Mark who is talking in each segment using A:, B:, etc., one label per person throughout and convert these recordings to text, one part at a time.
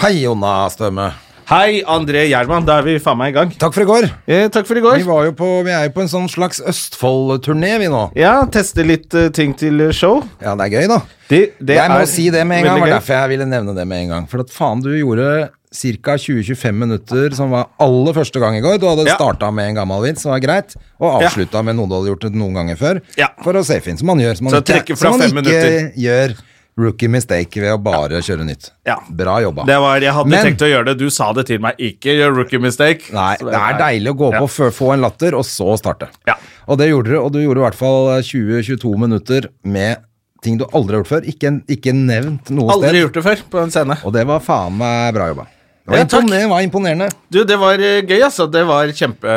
A: Hei, Jonna Støme.
B: Hei, André Gjerman. Da er vi faen meg i gang.
A: Takk for i går.
B: Eh, takk for i
A: Vi,
B: går.
A: var jo på, vi er jo på en sånn slags Østfold-turné, vi nå.
B: Ja, teste litt eh, ting til eh, show.
A: Ja, det er gøy, da.
B: Det, det
A: jeg må
B: er
A: si det med en gang.
B: veldig
A: Det var
B: gøy.
A: derfor jeg ville nevne det med en gang. For at faen, du gjorde ca. 20-25 minutter som var aller første gang i går. Du hadde
B: Ja.
A: startet starta med en gammel vits, som var greit, og avslutta med noe du hadde gjort noen ganger før.
B: Ja.
A: For å safe inn, som man gjør. Som man
B: Så trekke
A: ikke,
B: fra
A: som man
B: fem
A: ikke
B: minutter.
A: gjør rookie mistake ved å bare kjøre nytt.
B: Ja.
A: Bra jobba.
B: Det var, jeg hadde
A: Men-
B: tenkt å gjøre det. Du sa det til meg. Ikke gjør rookie mistake.
A: Nei,
B: Så
A: det er deilig å gå
B: Ja.
A: på, før- få en latter, og så starte.
B: Ja.
A: Og det gjorde du, og du gjorde i hvert fall 20-22 minutter med ting du aldri har gjort før. Ikke, ikke nevnt noe sted.
B: Aldri gjort det før på en scene.
A: Og det var faen meg bra jobba. Det var,
B: Ja, takk.
A: imponerende, det var imponerende.
B: Du, det var eh, gøy, altså. Det var kjempe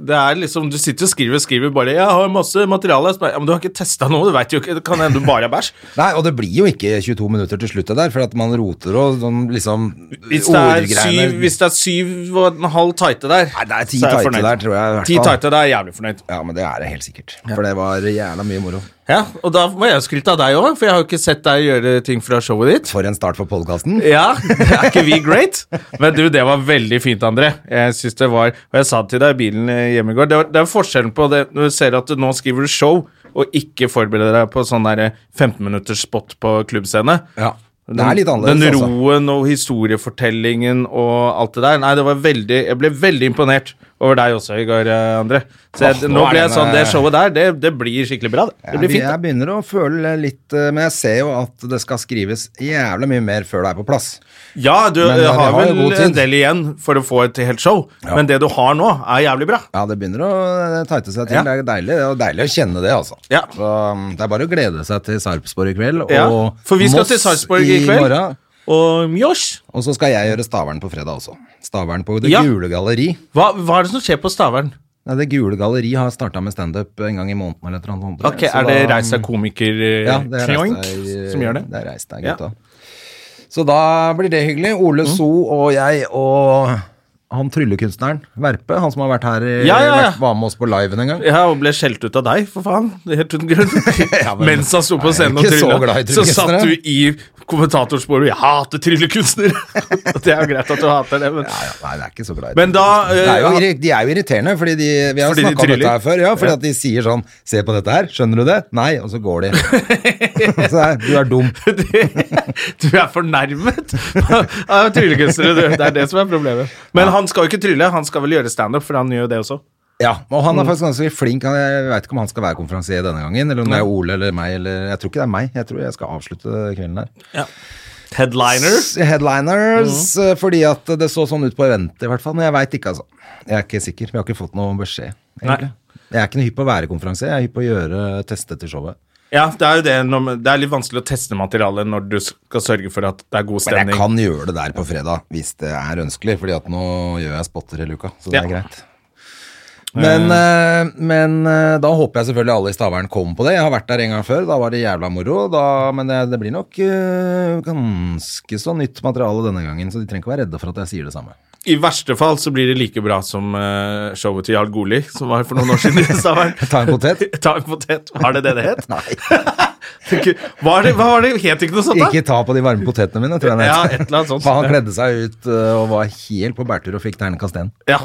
B: Det er liksom Du sitter og skriver og skriver bare 'Jeg har masse materiale'. Så bare, Ja, men du har ikke testa noe. Du veit jo ikke. Det kan hende du bare er bæsj.
A: Nei, og det blir jo ikke 22 minutter til slutt det der, for at man roter og sånn, liksom
B: Hvis det er
A: ordgreiene-
B: syv, hvis det er syv og en halv tighte der,
A: Nei, det er ti
B: så jeg
A: tighte
B: fornøyd.
A: der, tror jeg, i hvert
B: Ti
A: fall.
B: tighte, da er jeg jævlig fornøyd.
A: Ja, men det er det helt sikkert. For det var jævla mye moro.
B: Ja, og da må jeg skryte av deg òg, for jeg har jo ikke sett deg gjøre ting fra showet ditt.
A: For en start på podkasten.
B: Ja, er ikke vi great? Men du, det var veldig fint, André. Jeg synes det var, og jeg sa det til deg i bilen eh, hjemme i går, det, var, det er forskjellen på det når du ser at du nå skriver du show, og ikke forbereder deg på sånn der eh, 15 minutters spot på klubbscene.
A: Ja. Det er litt
B: Den
A: annerledes, altså.
B: roen og historiefortellingen og alt det der. Nei, det var veldig, jeg ble veldig imponert over deg også i går, eh, André. Så jeg,
A: Åh,
B: nå
A: nå er
B: ble jeg
A: den,
B: sånn,
A: eh,
B: det showet der, det, det blir skikkelig bra. Det, det
A: Jeg,
B: blir fint.
A: jeg begynner å føle litt eh, Men jeg ser jo at det skal skrives jævla mye mer før det er på plass.
B: Ja, du eh,
A: Men, ja, vi har
B: har
A: jo
B: vel
A: god tid.
B: en del igjen for å få et helt show, men det du har nå, er jævlig bra.
A: Ja, det begynner å eh, tighte seg til.
B: Ja.
A: Det er deilig det er deilig å kjenne det, altså.
B: Ja.
A: Så um, det er bare å glede seg til Sarpsborg i kveld, og
B: Ja, for vi skal
A: Moss
B: til Sarpsborg i kveld.
A: morgen.
B: Og Mjosh,
A: Og så skal jeg gjøre Stavern på fredag også. Stavern på Det
B: Ja.
A: Gule Galleri.
B: hva, hva er det som skjer på Stavern?
A: Nei, det Gule Galleri har starta med standup en gang i måneden eller et eller annet.
B: Ok,
A: Så
B: Er det
A: da- um,
B: Reis deg komiker eh,
A: Ja, det er
B: Tjoink
A: reist deg-
B: som gjør det?
A: Det er reist deg,
B: Ja. Mm.
A: gutta. Så da blir det hyggelig. Ole So og jeg og han tryllekunstneren Verpe, han som har vært her i,
B: Ja, ja, ja.
A: vært- var med oss på liven en gang.
B: Ja, og ble skjelt ut av deg, for faen. Helt uten grunn. Mens han sto på
A: jeg er
B: scenen og
A: ikke så
B: trylla,
A: glad i
B: så satt
A: tryllekunstnere.
B: du i kommentatorsporet og 'Jeg hater tryllekunstnere'. det er jo greit at du hater det, men
A: Ja, ja, nei, det er ikke så glad i
B: Men da eh,
A: Det er jo,
B: ja,
A: irri- de er jo irriterende, fordi de, vi har
B: Fordi de
A: snakka om dette
B: tryller.
A: her før. Ja, fordi at de sier sånn Se på dette her, skjønner du det? Nei, og så går de. Og så er, du er dum.
B: Det- du er fornærmet av tryllekunstnere, du. Det er det som er problemet. Men han skal jo ikke trylle, han skal vel gjøre standup, for han gjør jo det også.
A: Ja, og han
B: Mm.
A: er faktisk ganske flink. Han, jeg veit ikke om han skal være konferansier denne gangen, eller om det er Ole eller meg, eller Jeg tror ikke det er meg. Jeg tror jeg skal avslutte kvelden der.
B: Headliner.
A: S- Headliners,
B: Mm.
A: eh, fordi at det så sånn ut på eventet i hvert fall. Men jeg veit ikke, altså. Jeg er ikke sikker. Vi har ikke fått noen beskjed, egentlig. Jeg er ikke noe hypp på å være konferansier, jeg er hypp på å gjøre teste til showet.
B: Ja, det er jo det. når man- Det er litt vanskelig å teste materialet når du skal sørge for at det er god
A: Men jeg
B: stemning.
A: kan gjøre det der på fredag, hvis det er ønskelig, fordi at nå gjør jeg spotter hele uka, så det
B: Ja.
A: er greit. Men, eh, men eh, da håper jeg selvfølgelig alle i Stavern kommer på det. Jeg har vært der en gang før, da var det jævla moro. Da, men det, det blir nok eh, ganske så nytt materiale denne gangen, så de trenger ikke være redde for at jeg sier det samme.
B: I verste fall så blir det like bra som eh, showet til Jarl Goli, som var for noen år siden i Stavern.
A: Ta en potet.
B: Ta en potet. Var det det det het?
A: Nei,
B: Var det, hva var det? Het ikke noe sånt, da?
A: ikke ta på de varme potetene mine, tror jeg. det
B: Ja,
A: heter.
B: et eller annet sånt.
A: For han kledde seg ut eh, og var helt på bærtur og fikk ternekast én.
B: Ja.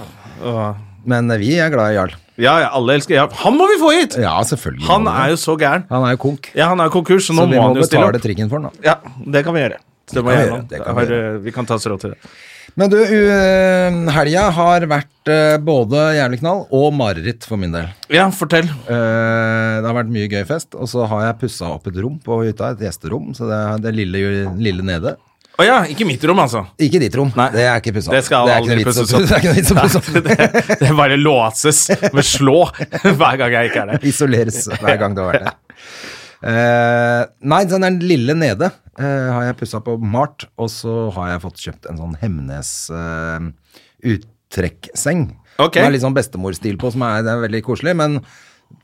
B: Åh.
A: Men eh, vi er glad i Jarl.
B: ja, ja, alle elsker Jarl. Han må vi få hit!
A: Ja, selvfølgelig.
B: Han er jo så gæren.
A: han er jo konk,
B: Ja, han er konkurs, så
A: så
B: nå
A: vi
B: må
A: må
B: han jo stille opp.
A: betale trikken for han, da.
B: Ja, det kan vi gjøre. Det må
A: kan vi
B: jeg
A: gjøre,
B: gjøre.
A: det
B: Jeg
A: kan vi
B: har,
A: gjøre.
B: eh, vi kan ta oss råd til det.
A: Men du, u- eh, helga har vært eh, både jævlig knall og mareritt for min del.
B: Ja, fortell.
A: Eh, Det har vært mye gøy fest, og så har jeg pussa opp et rom på hytta, et gjesterom, så det er det lille, lille nede.
B: Å ja, ikke mitt rom, altså.
A: Ikke ditt rom,
B: Nei.
A: det er ikke pussa opp.
B: Det skal
A: er ikke noe
B: aldri
A: vits å-
B: pusses opp.
A: Det er ikke noe vits å pusse opp.
B: Det, det bare låses med slå hver gang jeg ikke er der.
A: Isoleres hver gang du har vært der. Eh, nei, den er den lille nede. eh, har jeg pussa på Mart, og så har jeg fått kjøpt en sånn Hemnes eh, uttrekkseng.
B: Ok.
A: Den er litt sånn bestemorstil på, som er, det er veldig koselig, men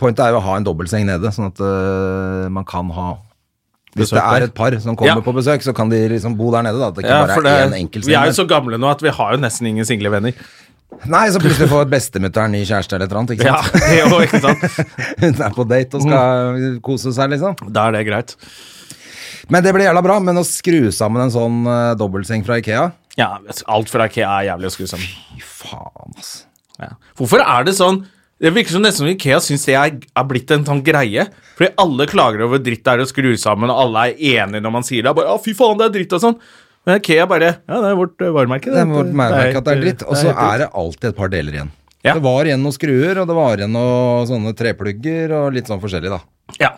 A: pointet er jo å ha en dobbeltseng nede, sånn at eh, man kan ha hvis
B: Besøk
A: det
B: der.
A: er et par som kommer
B: Ja.
A: på besøk, så kan de liksom bo der nede. da, At det ikke
B: Ja,
A: bare
B: for det,
A: er én enkel
B: vi
A: seng.
B: er
A: men-
B: jo så gamle nå at vi har jo nesten ingen single venner.
A: Nei, så plutselig får bestemutteren ny kjæreste eller et eller annet. ikke
B: Ja, Mm.
A: sant?
B: jo, ikke sant?
A: Hun er på date og skal kose seg, liksom.
B: Da er det greit.
A: Men det blir jævla bra. Men å skru sammen en sånn eh, dobbeltseng fra Ikea
B: Ja, alt fra IKEA er jævlig skuesomt.
A: Fy faen, ass.
B: Ja. Hvorfor er det sånn Det virker som nesten som Ikea syns det er, er blitt en sånn greie. Fordi alle klager over dritt det er å skru sammen, og alle er enige når man sier det. Bare, ja, fy faen, det er dritt og sånn. Men Ikea bare Ja, det er vårt eh, varemerke.
A: Det er vårt merke at det er dritt. Og så
B: helt
A: er det alltid et par deler igjen.
B: Ja.
A: Det var igjen noen skruer, og det var igjen noen sånne treplugger og litt sånn forskjellig, da.
B: dritt. Ja.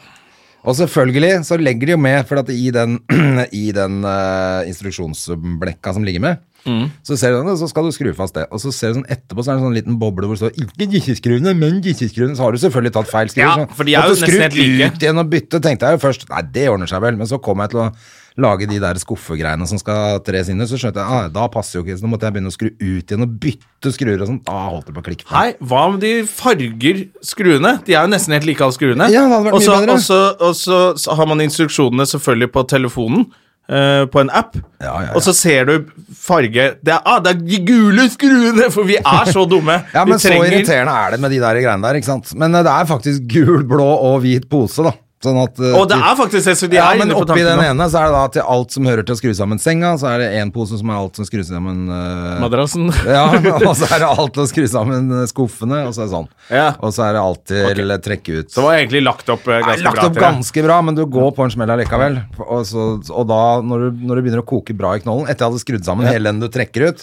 A: Og selvfølgelig så legger de jo med, for at i den, i den eh, instruksjonsblekka som ligger med,
B: Mm.
A: så ser du den, og så skal du skru fast det. Og så ser du sånn etterpå, så er det en sånn liten boble hvor det står 'ikke disse skruene, men disse skruene'. Så har du selvfølgelig tatt feil skru.
B: Ja,
A: så-
B: for de er
A: At
B: jo
A: du skrur
B: nesten helt like.
A: ut igjen og bytte, tenkte jeg jo først. Nei, det ordner seg vel. Men så kom jeg til å lage de der skuffegreiene som skal tres inn i, så skjønte jeg ah, da passer jo ikke. Så nå måtte jeg begynne å skru ut igjen og bytte skruer og sånn. Da holdt det på å klikke.
B: Hei, hva om de farger skruene? De er jo nesten helt like alle skruene.
A: Ja, det hadde vært
B: og så,
A: mye bedre.
B: Og så, og så, så har man instruksjonene selvfølgelig på telefonen, eh, på en app.
A: Ja, ja, ja.
B: Og så ser du farge det er, ah, det er de gule skruene! For vi er så dumme.
A: Ja,
B: Vi
A: men så
B: trenger-
A: irriterende er det med de der greiene der, ikke sant? Men eh, det er faktisk gul, blå og hvit pose, da. Sånn at eh,
B: Og det er faktisk det, så de
A: ja,
B: er
A: men
B: inne på
A: oppi den
B: tanken. nå.
A: ene så er det da til alt som hører til å skru sammen senga, så er det én pose som er alt som skrur sammen eh,
B: Madrassen.
A: ja, og så er det alt å skru sammen eh, skuffene, og så er det sånn.
B: Ja.
A: Og så er det alt til eh, trekke ut.
B: Så var egentlig lagt opp
A: Det
B: eh,
A: er
B: ganske
A: lagt
B: bra.
A: opp
B: til det.
A: ganske bra, men du går på en smell allikevel. Og, så, og da, når du, når du begynner å koke bra i knollen, etter jeg hadde skrudd sammen hele den du trekker ut,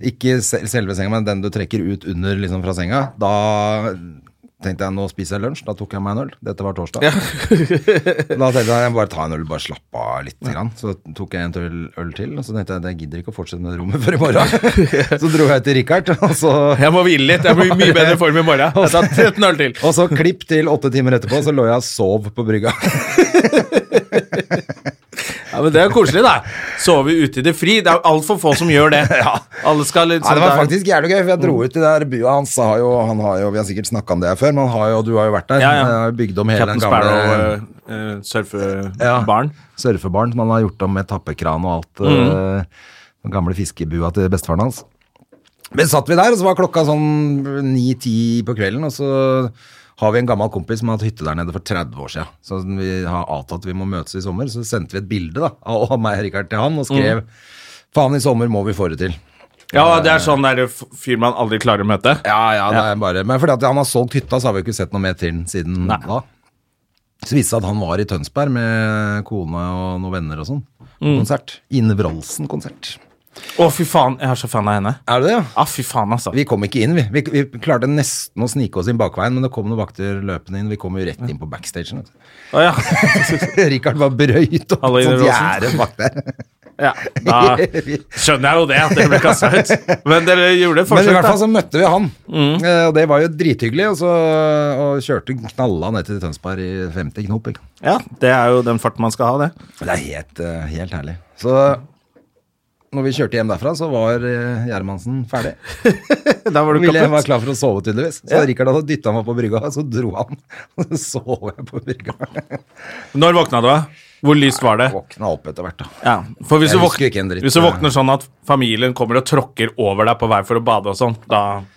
A: ikke se- selve senga, men den du trekker ut under liksom fra senga, da tenkte jeg nå spiser jeg lunsj, da tok jeg meg en øl. Dette var torsdag. da tenkte jeg jeg bare ta en øl, bare slappe av litt. Grann. Så tok jeg en til, øl til, og så tenkte jeg jeg gidder ikke å fortsette med det rommet før i morgen. så dro jeg til Richard, og så
B: Jeg må hvile litt. Jeg blir i mye bedre form i morgen. Jeg tar 13 øl til.
A: og så klipp til åtte timer etterpå, så lå jeg og sov på brygga.
B: Ja, men Det er koselig, da. Sove ute i det fri. Det er altfor få som gjør det. Alle skal litt
A: Nei,
B: sånn
A: det var
B: der-
A: faktisk jævlig gøy, for jeg dro
B: Mm.
A: ut i det der bua hans. så Har jo, han har jo, vi har sikkert snakka om det her før, men han har jo, du har jo vært der.
B: Ja, ja.
A: Jeg har jo Bygd om hele den
B: Captain
A: gamle
B: Sparrow, uh, surfebaren.
A: surfebaren som han har gjort om med tappekran og alt.
B: Mm.
A: eh, den gamle fiskebua til bestefaren hans. Men satt vi der, og så var klokka sånn 9-10 på kvelden, og så har vi en gammel kompis som har hatt hytte der nede for 30 år siden. Så vi har avtalt at vi må møtes i sommer. Så sendte vi et bilde da, av meg og Rikard til han og
B: Mm.
A: skrev faen, i sommer må vi få det til.
B: Ja, det er sånn der f- fyr man aldri klarer å møte.
A: Ja, ja, det er bare Men fordi at han har solgt hytta, så har vi jo ikke sett noe mer til den siden
B: Nei.
A: da. Så viste det seg at han var i Tønsberg med kone og noen venner og sånn. på
B: Mm.
A: Konsert. Ine Wroldsen-konsert.
B: Å, fy faen, jeg er så fan av henne.
A: Er det det, ja?
B: Ja, fy faen, altså.
A: Vi kom ikke inn, vi. vi. Vi klarte nesten å snike oss inn bakveien, men det kom noen vakter løpende inn. Vi kom jo rett inn på backstagen. vet du.
B: Å, ja.
A: Rikard var brøyt opp
B: Alle
A: et
B: Ine
A: sånt
B: Wroldsen.
A: gjerde bak der.
B: ja. Da skjønner jeg jo det, at dere ble kasta ut. Men dere gjorde et
A: Men i
B: forsøk,
A: hvert fall
B: da. Mm.
A: så møtte vi han, Eh, og det var jo drithyggelig. Og så og kjørte knalla ned til Tønsberg i 50 knop. Ikke?
B: Ja, det er jo den farten man skal ha, det.
A: Det er helt, eh, helt herlig. Så når vi kjørte hjem derfra, så var eh, Gjermansen ferdig.
B: Da var du
A: Ville var
B: kappet.
A: klar for å sove, tydeligvis. Så Rikard hadde dytta meg på brygga, så dro han. Og så sov jeg på brygga.
B: Når våkna du, da? Hvor lyst var det?
A: Våkna opp etter hvert, da.
B: Ja, for hvis
A: Jeg
B: du,
A: husker ikke en
B: våkner,
A: dritt.
B: hvis du våkner sånn at familien kommer og tråkker over deg på vei for å bade og sånn, da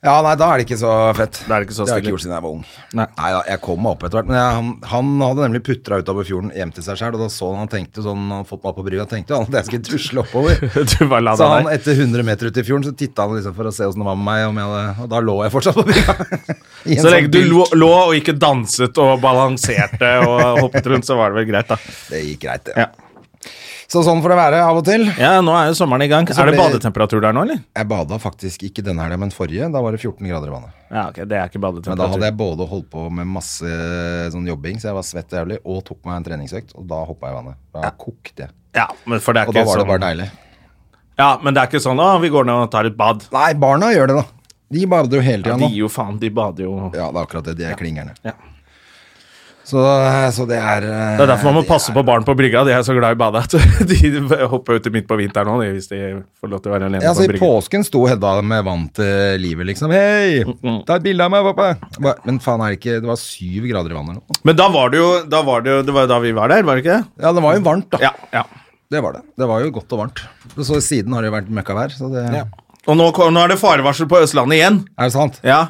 A: Ja, nei, da er det ikke så fett.
B: Da er det ikke så
A: har jeg
B: stilig.
A: ikke gjort siden jeg var ung.
B: Nei.
A: da, jeg kom meg opp etter hvert. Men jeg, han, han hadde nemlig putra utover fjorden hjem til seg sjøl, og da så han han tenkte sånn, han hadde fått meg opp på brygga, tenkte han at jeg skulle tusle oppover.
B: Du bare la
A: Så
B: deg
A: han
B: der.
A: etter 100 meter ut i fjorden, så titta han liksom for å se åssen det var med meg, om jeg hadde, og da lå jeg fortsatt på brygga. I en
B: Så
A: sånn
B: lenge du
A: bult.
B: lå lå og ikke danset og balanserte og hoppet rundt, så var det vel greit, da.
A: Det gikk greit, det.
B: Ja.
A: Så sånn får det være av og til.
B: Ja, nå er jo sommeren i gang.
A: Så
B: er det
A: blir-
B: badetemperatur der nå, eller?
A: Jeg bada faktisk ikke denne helga, men forrige. Da var det 14 grader i vannet.
B: Ja, ok, det er ikke
A: Men da hadde
B: badetemperatur.
A: jeg både holdt på med masse sånn jobbing, så jeg var svett og jævlig, og tok meg en treningsøkt, og da hoppa jeg i vannet. Da kokte jeg.
B: Ja, men for det er
A: Og da
B: ikke
A: var
B: sånn,
A: det bare deilig.
B: Ja, men det er ikke sånn 'Å, vi går ned og tar et bad'.
A: Nei, barna gjør det, da. De bader jo hele
B: Ja,
A: tida
B: de
A: nå.
B: gir jo faen, de bader jo
A: Ja, det er akkurat det. De er klingerne.
B: ja.
A: Så, så det er eh,
B: Det er derfor man må passe på barn på brygga. De er så glad i badet at de hopper uti midt på vinteren nå, de, hvis de får lov til å være alene
A: ja, altså,
B: på
A: I
B: brygga.
A: påsken sto Hedda med vann til livet, liksom. Hei,
B: Mm,
A: ta et bilde av meg, pappa! Jeg bare, Men faen, er det ikke Det var syv grader i vannet eller noe?
B: Men da var det jo da var det, jo, det var jo da vi var der, var det ikke det?
A: Ja, det var jo varmt, da.
B: Ja, ja.
A: Det var det. Det var jo godt og varmt. Og Så siden har det jo vært møkkavær, så det
B: Og nå, ko- nå er det farevarsel på Østlandet igjen.
A: Er det sant?
B: Ja.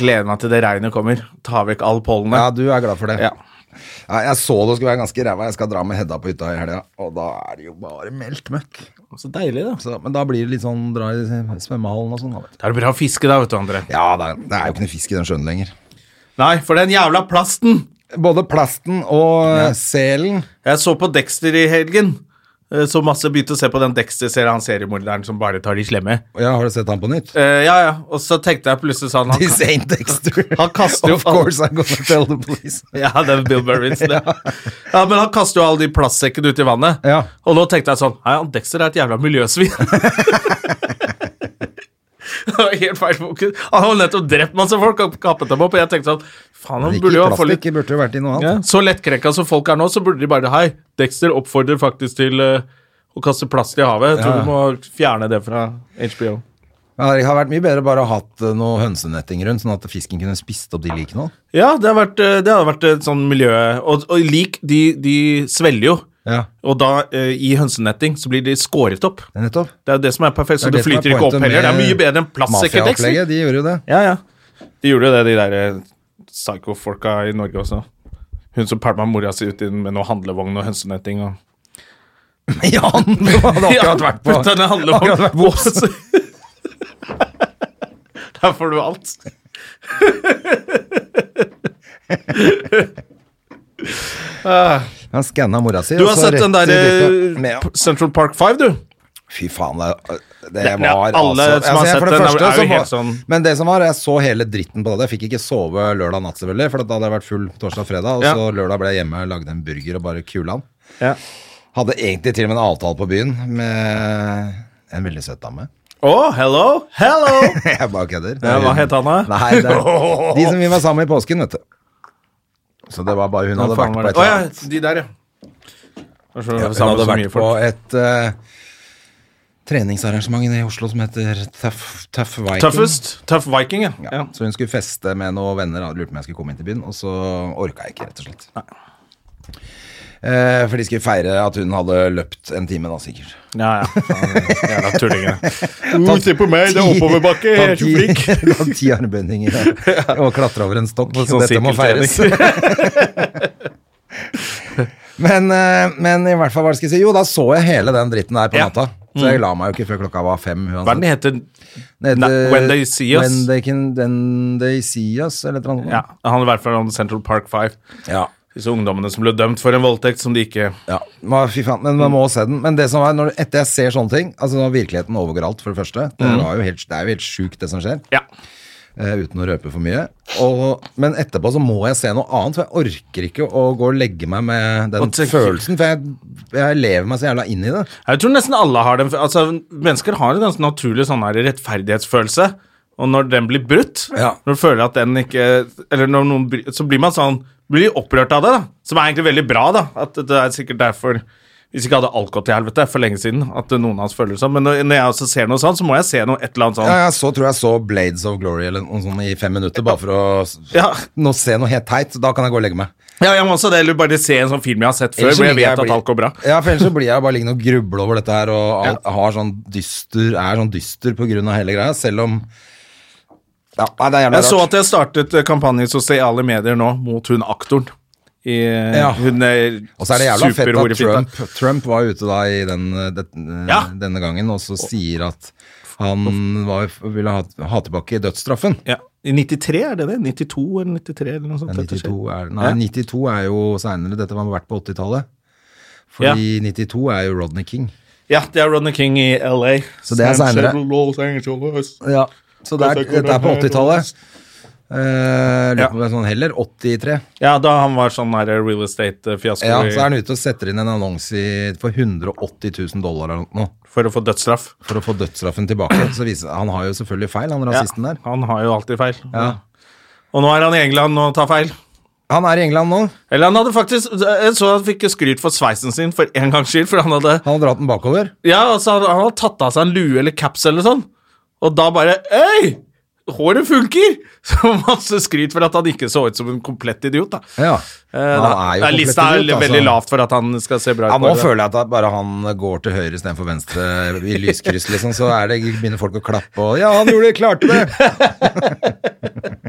B: Gleder meg til det regnet kommer. Ta vekk all pollenet.
A: Ja, du er glad for det.
B: Ja.
A: Ja, jeg så det skulle være ganske ræva. Jeg skal dra med Hedda på hytta i helga, og da er det jo bare meldt møkk.
B: Så deilig, da.
A: Så, men da blir det litt sånn dra i svømmehallen og sånn. da, vet du.
B: Det er bra å fiske, da, vet du, André.
A: Ja, det er, det er jo ikke noe fisk i den sjøen lenger.
B: Nei, for den jævla plasten!
A: Både plasten og eh, selen
B: Jeg så på Dexter i helgen. Eh, Så masse begynte å se på den Dexter-serien, han seriemorderen som bare tar de slemme.
A: Ja, har du sett han på nytt?
B: Eh, ja, ja. Og så tenkte jeg plutselig sånn han,
A: This ain't Dexter.
B: Han kaster jo
A: Of course I'm gonna tell the police.
B: Ja, det er Bill Burrits, det. Ja, men han kaster jo alle de plastsekkene ut i vannet.
A: Ja.
B: Og nå tenkte jeg sånn Nei, han Dexter er et jævla miljøsvin. Det var Helt feil fokus. Han har jo nettopp drept masse folk og kappet dem opp, og jeg tenkte sånn Faen, han
A: Ikke
B: burde jo
A: i
B: få litt
A: plastikk, det burde jo vært i noe
B: ja.
A: annet.
B: Så lettkrenka som folk er nå, så burde de bare Hei, Dexter oppfordrer faktisk til eh, å kaste plast i havet. Jeg tror
A: Ja.
B: du må fjerne det fra HBO.
A: Ja, Det har vært mye bedre bare å hatt eh, noe hønsenetting rundt, sånn at fisken kunne spist opp de likene. også.
B: Ja, det har vært, eh, det har vært et sånn miljø Og, og lik, de, de svelger jo.
A: Ja,
B: Og da, eh, i hønsenetting, så blir de skåret opp.
A: det er nettopp.
B: Det er jo det som er perfekt, så
A: Det er det
B: det,
A: som er
B: flyter ikke opp
A: pointet
B: heller. Det er
A: med
B: mye bedre enn plastsekker, Dexter.
A: Mafiaopplegget, de gjorde jo det.
B: Ja, ja. De gjorde jo det, de der eh, psycho-folka i Norge også. Hun som pælma mora si ut i den med noe handlevogn og hønsenetting og
A: Ja, han hadde akkurat vært på
B: Putt den i handlevogn.
A: akkurat vært på Ås.
B: Der får du alt.
A: Han skanna mora si.
B: Du
A: og
B: har
A: så
B: sett
A: rett
B: den der
A: i dypet.
B: eh,
A: Med-
B: P- Central Park 5, du?
A: Fy faen, det, det
B: Ja,
A: var altså-
B: alle som har
A: jeg-
B: sett
A: for det
B: den er-
A: første
B: er jo
A: så var-
B: helt sånn-
A: Men det som var, jeg så hele dritten på det. Jeg fikk ikke sove lørdag natt, selvfølgelig, for da hadde jeg vært full torsdag og fredag. Og
B: Ja.
A: så lørdag ble jeg hjemme, lagde en burger og bare kula den.
B: Ja.
A: Hadde egentlig til og med en avtale på byen med en veldig søt dame.
B: Å, hello! Hello!
A: Jeg bare kødder. Det er
B: Ja, hva
A: hun.
B: het han, da?
A: Nei, det er de som vi var sammen med i påsken, vet du. Så det var bare Hun hadde vært på et
B: Å
A: eller
B: ja,
A: annet
B: de der, ja. Det er så-
A: Ja,
B: det er
A: hun
B: samme
A: hadde
B: så mye
A: vært på
B: folk.
A: et eh, treningsarrangement i Oslo som heter Tough, Tough Viking.
B: Tøffest. Tøff Viking, ja.
A: Ja.
B: ja.
A: Så hun skulle feste med noen venner, da. lurte på om jeg skulle komme inn til byen, og så orka jeg ikke, rett og slett. Eh, for de skulle feire at hun hadde løpt en time, da, sikkert.
B: Ja, ja. Faen, Jævla tullingene. Uh, se på meg, det er
A: Ti-
B: oppoverbakke, jeg er så flink.
A: Ta ti, ta ti armbøyninger ja, og klatre over en stokk.
B: Sånn
A: Dette må feires.
B: sirkeltrening.
A: Men, eh, men i hvert fall, hva skal jeg si? Jo, da så jeg hele den dritten der på
B: Ja.
A: natta. Så jeg la meg jo ikke før klokka var fem. uansett.
B: Hva er den heter?
A: Det heter-
B: Nei, When They See Us.
A: When They Can Then They See Us, eller et eller annet.
B: Ja, det handler i hvert fall om Central Park 5.
A: Ja.
B: Disse ungdommene som ble dømt for en voldtekt som de ikke
A: Ja, ma- fy faen, men man må se den. Men det som er, når, etter jeg ser sånne ting Altså, når virkeligheten overgår alt, for det første. Det,
B: Mm.
A: var jo helt, det er jo helt sjukt, det som skjer.
B: Ja.
A: eh, uten å røpe for mye. Og, men etterpå så må jeg se noe annet, for jeg orker ikke å gå og legge meg med den
B: Og tenke-
A: følelsen. For jeg, jeg lever meg så jævla inn i det.
B: Jeg tror nesten alle har den Altså, mennesker har en ganske naturlig sånn her rettferdighetsfølelse. Og når den blir brutt,
A: Ja.
B: når du føler at den ikke Eller når noen bry- Så blir man sånn Blir opprørt av det, da. Som er egentlig veldig bra, da. At det er sikkert derfor Hvis ikke hadde alt gått til helvete for lenge siden, at noen av oss føler det sånn. Men når når jeg også ser noe sånn, så må jeg se noe et eller annet sånn.
A: Ja, jeg så tror jeg så Blades of Glory eller noe sånt i fem minutter, bare for å s-
B: Ja.
A: nå se noe helt teit. Da kan jeg gå og legge meg.
B: Ja, jeg må også det, eller bare se en sånn film jeg har sett før,
A: Ellers så
B: hvor jeg
A: ligger
B: vet
A: blir-
B: at alt går bra.
A: Ja, for ellers så blir jeg bare liggende og gruble over dette her, og alt, har sånn dyster, er sånn dyster på grunn av hele greia, selv om ja, Nei, det er jævla
B: Jeg så
A: rart.
B: at jeg startet eh, kampanje i sosiale medier nå mot hun aktoren. I, eh,
A: Ja.
B: Hun er
A: Og så er det jævla fett at
B: superhorefitta.
A: Trump, Trump var ute da i den, eh, det, eh,
B: Ja.
A: denne gangen og så sier at han var, ville ha, ha tilbake dødsstraffen.
B: Ja. I 93, er det det? 92 eller 93? eller noe sånt.
A: Ja,
B: dette
A: 92
B: skjer.
A: er, nei,
B: Ja.
A: 92 er jo seinere. Dette var vært på 80-tallet. Fordi 92 er jo Rodney King.
B: Ja, det er Rodney King i LA.
A: Så det er
B: San
A: senere.
B: Pedro, Los Angeles.
A: Ja, så det er, dette er på 80-tallet. Eh, lurer på om det er sånn heller 83.
B: Ja, da han var sånn der real estate-fiasko
A: Ja, så er
B: i-
A: han ute og setter inn en annonse i- for 180 000 dollar eller noe
B: for å få dødsstraff.
A: for å få dødsstraffen tilbake. Så viser, han har jo selvfølgelig feil, han rasisten der.
B: Han har jo alltid feil.
A: Ja.
B: Og nå er han i England og tar feil.
A: Han er i England nå.
B: Eller han hadde faktisk Jeg så han fikk skryt for sveisen sin for en gangs skyld, for han hadde
A: Han har dratt den bakover.
B: Ja, altså, han, han hadde tatt av seg en lue eller caps eller sånn, og da bare Øy! Håret funker! Så masse skryt for at han ikke så ut som en komplett idiot, da.
A: Ja. Han er jo
B: Eh, da, da,
A: komplett
B: lista er
A: idiot, altså.
B: veldig lavt for at han skal se bra ut.
A: Ja,
B: på
A: nå
B: det.
A: føler jeg at bare han går til høyre istedenfor venstre i lyskryss, liksom, så er det, begynner folk å klappe og Ja, han gjorde det! Klarte det!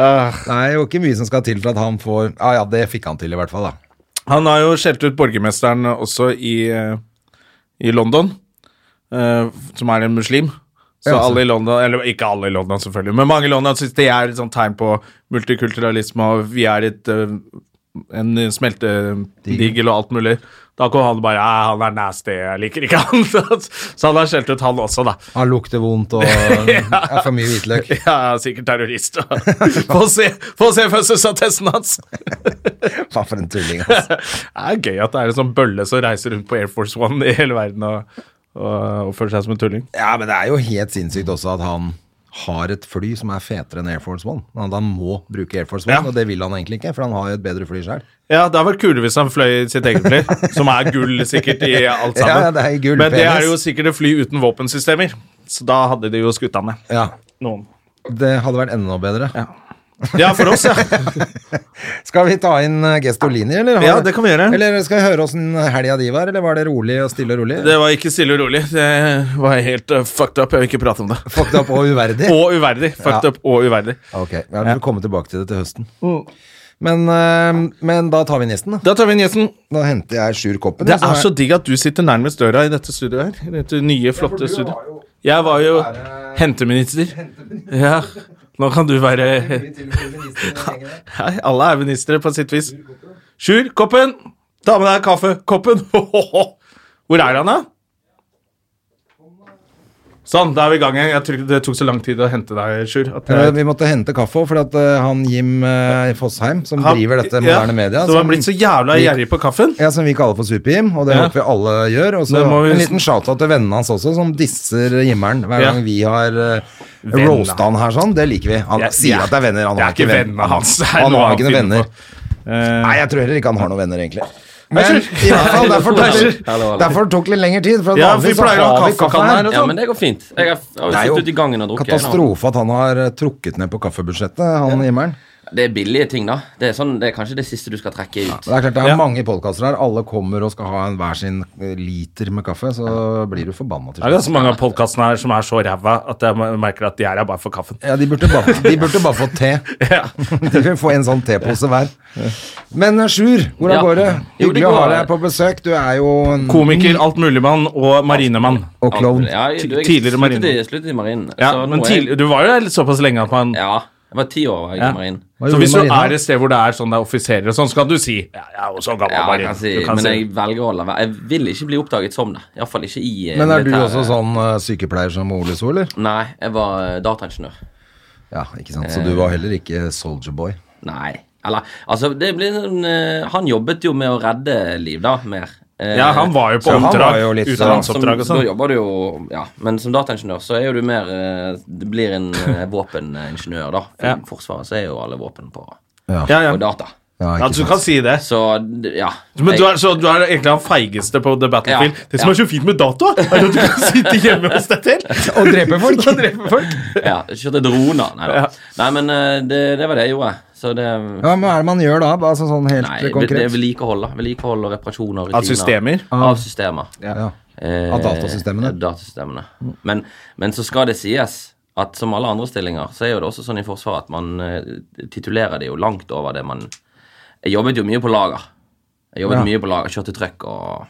A: Det er jo ikke mye som skal til for at han får ah, Ja, ja, det fikk han til, i hvert fall, da.
B: Han har jo skjelt ut borgermesteren også i, eh, i London, eh, som er en muslim. Så
A: Ja, så-
B: alle i London, eller ikke alle i London selvfølgelig, men mange i London synes det er et sånt tegn på multikulturalisme, og vi er et, eh, en smeltedigel og alt mulig. Da kom han bare, «Æ, han er nasty, jeg liker ikke han. Så- Så han har skjelt ut han også da.
A: Han lukter vondt og er for mye hvitløk.
B: Ja, sikkert terrorist. Få se, få se fødselsattesten hans.
A: Faen, for en tulling, altså.
B: Det er gøy at det er en sånn bølle som reiser rundt på Air Force One i hele verden og, og oppfører seg som en tulling.
A: Ja, men det er jo helt sinnssykt også at han har et fly som er fetere enn Air Force One. Han han må bruke Air Force One,
B: Ja.
A: og det vil han egentlig ikke, for han har jo et bedre fly sjøl.
B: Ja, det hadde vært kulere hvis han fløy sitt eget fly, som er gull sikkert i alt sammen.
A: Ja, det er gull,
B: Men det
A: penis.
B: er jo sikkert et fly uten våpensystemer, så da hadde de jo skutt han ned.
A: Ja.
B: Noen.
A: Det hadde vært enda bedre.
B: Ja, for oss, ja.
A: Skal vi ta inn eh, Gestolini, eller? Har-
B: Ja, det kan vi gjøre.
A: Eller skal vi høre åssen helga di var, eller var det rolig og stille og rolig?
B: Det var ikke stille og rolig. Det var helt eh, fucked up. Jeg vil ikke prate om det.
A: Fucked up og uverdig?
B: Og uverdig. Fucked
A: Ja.
B: up og uverdig.
A: Ok, ja, vi får komme tilbake til det til høsten. Men, eh, men da tar vi nisten, da.
B: Da tar vi inn gjesten.
A: Da henter jeg Sjur Koppen.
B: Det
A: som
B: er så digg at du sitter nærmest døra i dette studioet her. I dette nye, flotte studioet. Jeg var jo henteminister. Ja. Nå kan du være Nei, alle er ministre på sitt vis. Sjur, koppen! Ta med deg kaffekoppen. Hvor er han, da? Sånn, da er vi i gang igjen. Jeg tror ikke det tok så lang tid å hente deg, Sjur. At
A: Eh,
B: jeg-
A: Vi måtte hente kaffe òg, for at eh, han Jim eh, Fosheim, som driver dette moderne media
B: Som har blitt så jævla gjerrig på kaffen.
A: ja, som vi kaller for Super-Jim, og det
B: Ja.
A: håper vi alle gjør. Og så
B: Det må vi-
A: en liten shout-out til vennene hans også, som disser Jimmeren hver
B: Ja.
A: gang vi har uh,
B: Venner.
A: roasta han her sånn. Det liker vi. Han
B: Jeg-
A: sier
B: jeg-
A: at det er venner. Han
B: jeg
A: har
B: er ikke
A: ikke venn-
B: vennene hans. Det er
A: Han
B: noe
A: har
B: han
A: ikke noen
B: finner
A: venner.
B: Eh,
A: Nei, jeg tror heller ikke han har noen venner, egentlig.
B: Nei,
A: Men
B: sure.
A: i hvert fall, derfor tok,
B: Nei,
A: det-
B: sure.
A: derfor tok det litt lengre tid, for at
B: Ja,
A: vanligvis
B: for
A: så
B: vi pleier å ha
A: har vi kaffe her.
B: og
C: Ja,
B: sånn.
C: men det går fint. Jeg har, jeg har
A: Det er
C: sittet
A: jo
C: ute i gangen og drukket.
A: Katastrofe at han har eh, trukket ned på kaffebudsjettet, han Jimmeren.
C: nå. Det er billige ting, da. Det er, sånn, det er kanskje det siste du skal trekke ut.
A: Det er klart det er
B: Ja.
A: mange podkaster her. Alle kommer og skal ha en hver sin eh, liter med kaffe, så blir du forbanna til
B: Det er
A: slutt.
B: ganske mange av podkastene her som er så ræva at jeg merker at de er her bare for kaffen.
A: Ja, de burde bare, de burde bare få te. De vil få en sånn tepose hver. Men eh, Sjur, hvordan
C: Ja.
A: går det?
C: Jo, det
A: Hyggelig å ha
C: går-
A: deg på besøk. Du er jo en
B: Komiker, altmuligmann og marinemann.
A: og klovn.
C: Ja, du, jeg
B: Tidligere
C: sluttet
B: marine.
C: i- Sluttet i marinen.
B: Ja,
C: Så nå
B: men
C: er jeg-
B: tidlig, du var jo her litt såpass lenge at man
C: Ja, jeg var ti år var jeg
B: Ja.
C: i marinen.
A: Hva
B: Så
A: gjorde
B: hvis du
A: Marina?
B: er et sted hvor det er sånn det er offiserer og sånn, så kan du si Ja, jeg er også gammel
C: Ja, jeg
B: marin.
C: kan si,
B: Du kan
C: men
B: si-
C: jeg velger å holde meg. Jeg vil ikke bli oppdaget som det. Iallfall ikke i eh,
A: Men er du
C: militæret.
A: også sånn eh, sykepleier som Ole So, eller?
C: Nei, jeg var eh, dataingeniør.
A: Ja, ikke sant.
C: Eh.
A: Så du var heller ikke Soldier Boy.
C: Nei. Eller altså, det blir sånn eh, Han jobbet jo med å redde liv, da, mer. Eh,
B: Ja, han var jo på
A: Så han var
B: oppdrag.
A: jo litt sånn-
C: som,
B: Utenlandsoppdrag og
C: da
B: sånn.
C: jobber du jo Ja, men som dataingeniør så er jo du mer eh, Du blir en eh, våpeningeniør, da. For
B: Ja.
C: I Forsvaret så er jo alle våpen på,
B: Ja, ja.
C: på data.
A: Ja,
B: Ja,
A: ikke
B: du
A: sant.
B: kan si det.
C: Så d- ja.
B: Men du er,
C: Jeg-
B: så, du er egentlig han feigeste på The Battlefield.
C: Ja,
B: Det som
C: ja.
B: er så fint med data, er at du kan sitte hjemme hos deg selv
A: Og drepe folk!
B: og drepe folk.
C: ja, Kjørte droner. Nei da.
B: Ja.
C: Nei, men eh, det, det var det jeg gjorde. Så det
A: Ja, men Hva er det man gjør da? Altså sånn helt
C: Nei, det
A: konkret?
C: er vedlikehold, da. Vedlikehold og reparasjoner.
B: Av
C: rutiner.
B: systemer?
C: Av systemer.
A: ja.
C: Eh,
A: Av datasystemene?
C: datasystemene. Men, men så skal det sies at som alle andre stillinger, så er jo det også sånn i Forsvaret at man eh, titulerer det jo langt over det man Jeg jobbet jo mye på lager. Jeg jobbet
A: Ja.
C: mye på lager, kjørte truck og,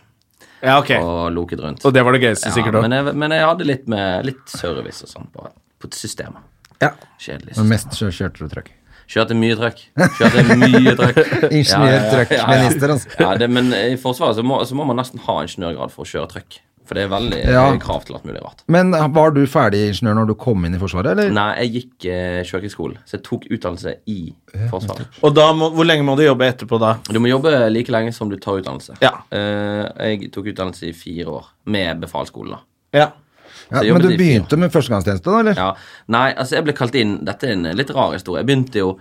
B: Ja, ok.
C: og loket rundt.
B: Og det var det gøyeste,
C: ja,
B: sikkert. også.
C: men, jeg, men jeg hadde litt med litt service og sånn på, på systemet.
A: Ja.
C: Kjedelig.
A: Men
C: system.
A: mest kjø- kjørte du truck.
C: Kjørte mye trøkk. Kjørte mye trøkk.
A: Ingeniør-trøkkminister, altså.
C: Ja, det, men i Forsvaret så må, så må man nesten ha ingeniørgrad for å kjøre trøkk. For det er veldig
A: Ja.
C: høye krav til alt mulig rart.
A: Men eh, var du ferdig ingeniør når du kom inn i Forsvaret, eller?
C: Nei, jeg gikk eh, kjøkkenskole, så jeg tok utdannelse i Forsvaret.
B: Og da må, hvor lenge må du jobbe etterpå da?
C: Du må jobbe like lenge som du tar utdannelse.
B: Ja.
C: Eh, jeg tok utdannelse i fire år, med befalsskolen. da.
B: Ja.
C: Så
A: Ja,
C: jeg
A: men
C: jobbet
A: du
C: i fire år.
A: begynte med førstegangstjeneste, da, eller?
C: Ja. Nei, altså jeg ble kalt inn Dette er en litt rar historie. Jeg begynte jo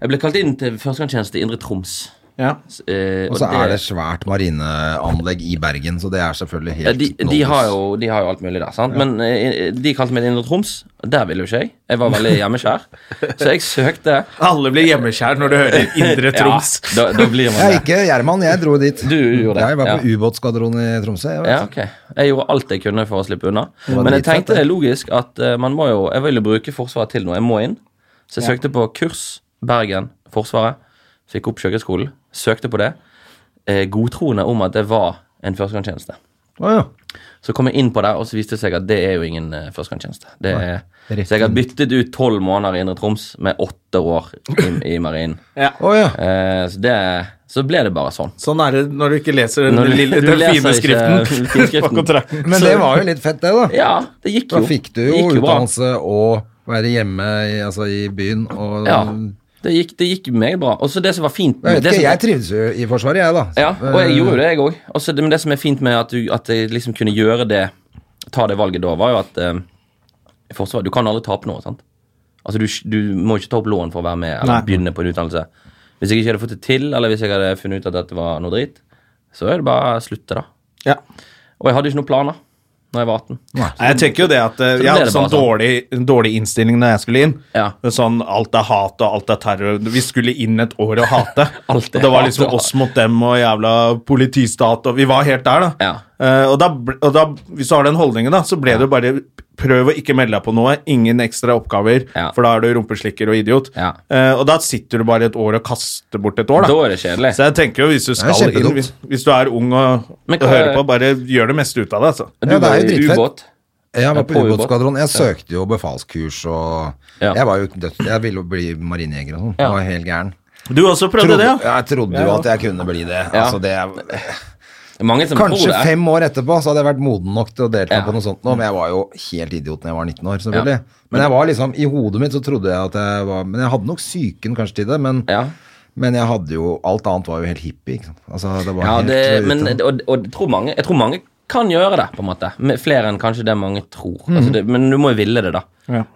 C: Jeg ble kalt inn til førstegangstjeneste i Indre Troms.
B: Ja.
C: Eh,
A: Og så er det svært marineanlegg i Bergen, så det er selvfølgelig
C: Ja,
A: helt
C: de, de,
A: nådeløst.
C: har jo, de har jo alt mulig der, sant? men eh, de kalte meg til Indre Troms. Der ville jo ikke jeg. Jeg var veldig hjemmeskjær. Så jeg søkte.
B: Alle blir hjemmeskjær når du hører Indre Troms.
C: Ja, da, da blir
A: Jeg
C: man
A: er
C: det.
A: ikke Gjerman, jeg dro dit.
C: Du gjorde det,
A: Jeg var på
C: ja.
A: ubåtskvadronen i Tromsø. Jeg vet.
C: Ja, ok. Jeg gjorde alt jeg kunne for å slippe unna.
A: var
C: Men jeg
A: dritfett,
C: tenkte
A: det.
C: det er logisk at eh, man må jo Jeg vil jo bruke Forsvaret til noe. Jeg må inn. Så jeg søkte på kurs Bergen Forsvaret. Fikk opp Sjøkrigsskolen. Søkte på det. Eh, Godtroende om at det var en førstegangstjeneste.
A: Å, ja.
C: Så kom jeg inn på det, og så viste det seg at det er jo ingen eh, førstegangstjeneste. Det er-
A: rett
C: Så jeg har
A: inn.
C: byttet ut tolv måneder i Indre Troms med åtte år i, i marinen.
A: Å, ja.
C: Eh, så, det, så ble det bare sånn.
B: Sånn er det når du ikke leser den
C: Når du-
B: lille,
C: du
B: den
C: leser
B: fine
C: ikke
B: skriften på
C: finskriften.
B: kontrakten.
A: Men det var jo litt fett, det, da.
C: Ja, det gikk
A: Da
C: jo.
A: fikk du
C: det
A: jo
C: gikk bra.
A: utdannelse og være hjemme i, altså, i byen og
C: Ja, det gikk, det gikk meget bra. Og så det som var fint
A: Jeg vet
C: det
A: ikke,
C: som,
A: jeg trivdes jo i Forsvaret, jeg, da.
C: Ja, og jeg gjorde jo det, jeg òg. Og så det- Men det som er fint med at, du, at jeg liksom kunne gjøre det, ta det valget da, var jo at eh, i Forsvaret, du kan aldri tape noe, sant? Altså, du, du må ikke ta opp lån for å være med eller begynne på en utdannelse. Hvis jeg ikke hadde fått det til, eller hvis jeg hadde funnet ut at dette var noe drit, så er det bare å slutte, da.
B: Ja.
C: Og jeg hadde ikke noen planer når jeg var 18.
B: Nei, jeg tenker jo det at eh,
C: ble
B: Jeg hadde
C: det
B: sånn
C: bare sånn.
B: dårlig, en dårlig innstilling når jeg skulle inn.
C: Ja.
B: Sånn alt er hat og alt er terror. Vi skulle inn et år og hate. og
C: Alt er
B: det var
C: hat
B: liksom
C: og hat.
B: oss mot dem og jævla politistat og Vi var helt der, da.
C: Ja.
B: Eh, og, da ble- og da, hvis du har den holdningen, da, så ble det jo bare Prøv å ikke melde deg på noe. Ingen ekstra oppgaver,
C: Ja.
B: for da er du rumpeslikker og idiot.
C: Ja.
B: Eh, og da sitter du bare et år og kaster bort et år, da.
C: Da er det kjedelig.
B: Så jeg tenker jo, hvis du
A: er
B: skal inn,
A: kjempedumt.
B: hvis, hvis du er ung og,
C: Men
B: og
C: hva-
B: hører på, bare gjør det meste ut av det, altså.
C: Du
A: Ja, det er
C: var
A: jo
C: i
A: dritfett.
C: ubåt.
A: Eh, Jeg var
C: Ja,
A: på
C: på ubåt.
A: ubåtskvadron. Jeg søkte jo befalskurs og
C: Ja.
A: Jeg var jo dødt. Jeg ville jo bli marinejeger og sånn. Jeg
C: Ja.
A: var helt gæren.
B: Du også prøvde
A: Trodde,
B: det, ja?
A: jeg trodde jo at jeg kunne bli det.
C: Ja.
A: Altså, det er,
C: Mange som tror
A: kanskje
C: det.
A: fem år etterpå så hadde jeg vært moden nok til å delta
C: Ja.
A: på noe sånt nå, men jeg var jo helt idiot når jeg var 19 år, selvfølgelig. Men jeg var liksom, i hodet mitt så trodde jeg at jeg var Men jeg hadde nok psyken kanskje til det, men,
C: Ja.
A: men jeg hadde jo Alt annet var jo helt hippie, ikke sant. Altså, det var
C: Ja,
A: helt
C: det,
A: ute.
C: men, og, og jeg, tror mange, jeg tror mange kan gjøre det, på en måte. Men Flere enn kanskje det mange tror.
A: Mhm.
C: altså det, men du må jo ville det, da.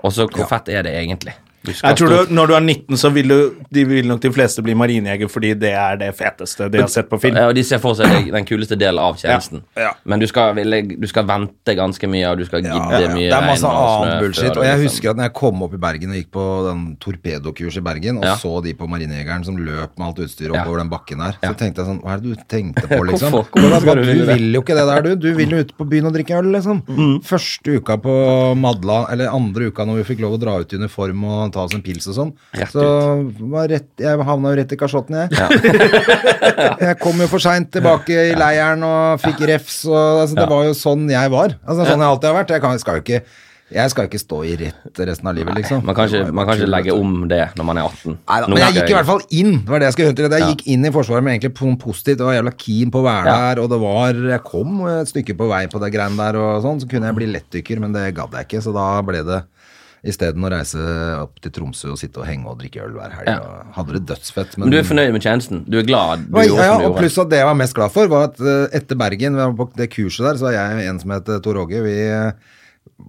C: Og så hvor fett er det egentlig? Du skal
B: Jeg tror
C: stå-
B: du, Når du er 19, så vil, du, de vil nok de fleste bli marinejeger fordi det er det feteste de har sett på film.
C: Ja, og de ser for seg deg den kuleste delen av tjenesten. Men du skal, ville, du skal vente ganske mye, og du skal gidde
A: Ja, ja.
C: mye
A: Det er masse
C: regn og snø
A: annen bullshit.
C: før du
A: Og jeg
C: liksom-
A: husker at når jeg kom opp i Bergen og gikk på den torpedokurs i Bergen, og
C: Ja.
A: så de på Marinejegeren som løp med alt utstyret
C: Ja.
A: oppover den bakken der, så tenkte jeg sånn Hva er det du tenkte på, liksom?
C: Hvorfor? Hvorfor
A: Det var
C: skal
A: bare,
C: du
A: du
C: ville det? Mm.
A: vil jo ikke det der, du. Du vil jo ut på byen og drikke øl, liksom. Første uka på Madla, eller andre uka når vi fikk lov å dra ut i uniform og ta oss en pils og sånn,
C: Rett
A: så var rett, jeg havna jo rett i kasjotten, jeg. Jeg kom jo for seint tilbake i leiren og fikk refs. Og, altså, det var jo sånn jeg var. Altså, sånn jeg alltid har vært. Jeg, kan, skal jo ikke, jeg skal jo ikke stå i rett resten av livet, liksom.
C: Man kan ikke, man kan ikke legge
A: om
C: om det når man er 18.
A: Neida, men jeg gikk i hvert fall inn. Det var det jeg skulle høre til. Jeg gikk inn i Forsvaret med egentlig noe positivt. Jeg var jævla keen på å være
C: Ja.
A: der, og det var Jeg kom et stykke på vei på det greiene der og sånn. Så kunne jeg bli lettdykker, men det gadd jeg ikke, så da ble det Isteden å reise opp til Tromsø og sitte og henge og drikke øl hver helg.
C: Ja.
A: og Hadde det dødsfett.
C: Men du er fornøyd med tjenesten? Du er glad? Du
A: Oi,
C: gjorde
A: ja,
C: som du
A: og
C: gjorde.
A: pluss at det jeg var mest glad for, var at eh, etter Bergen, vi var på det kurset der, så var jeg og en som het eh, Tor Åge. Vi eh,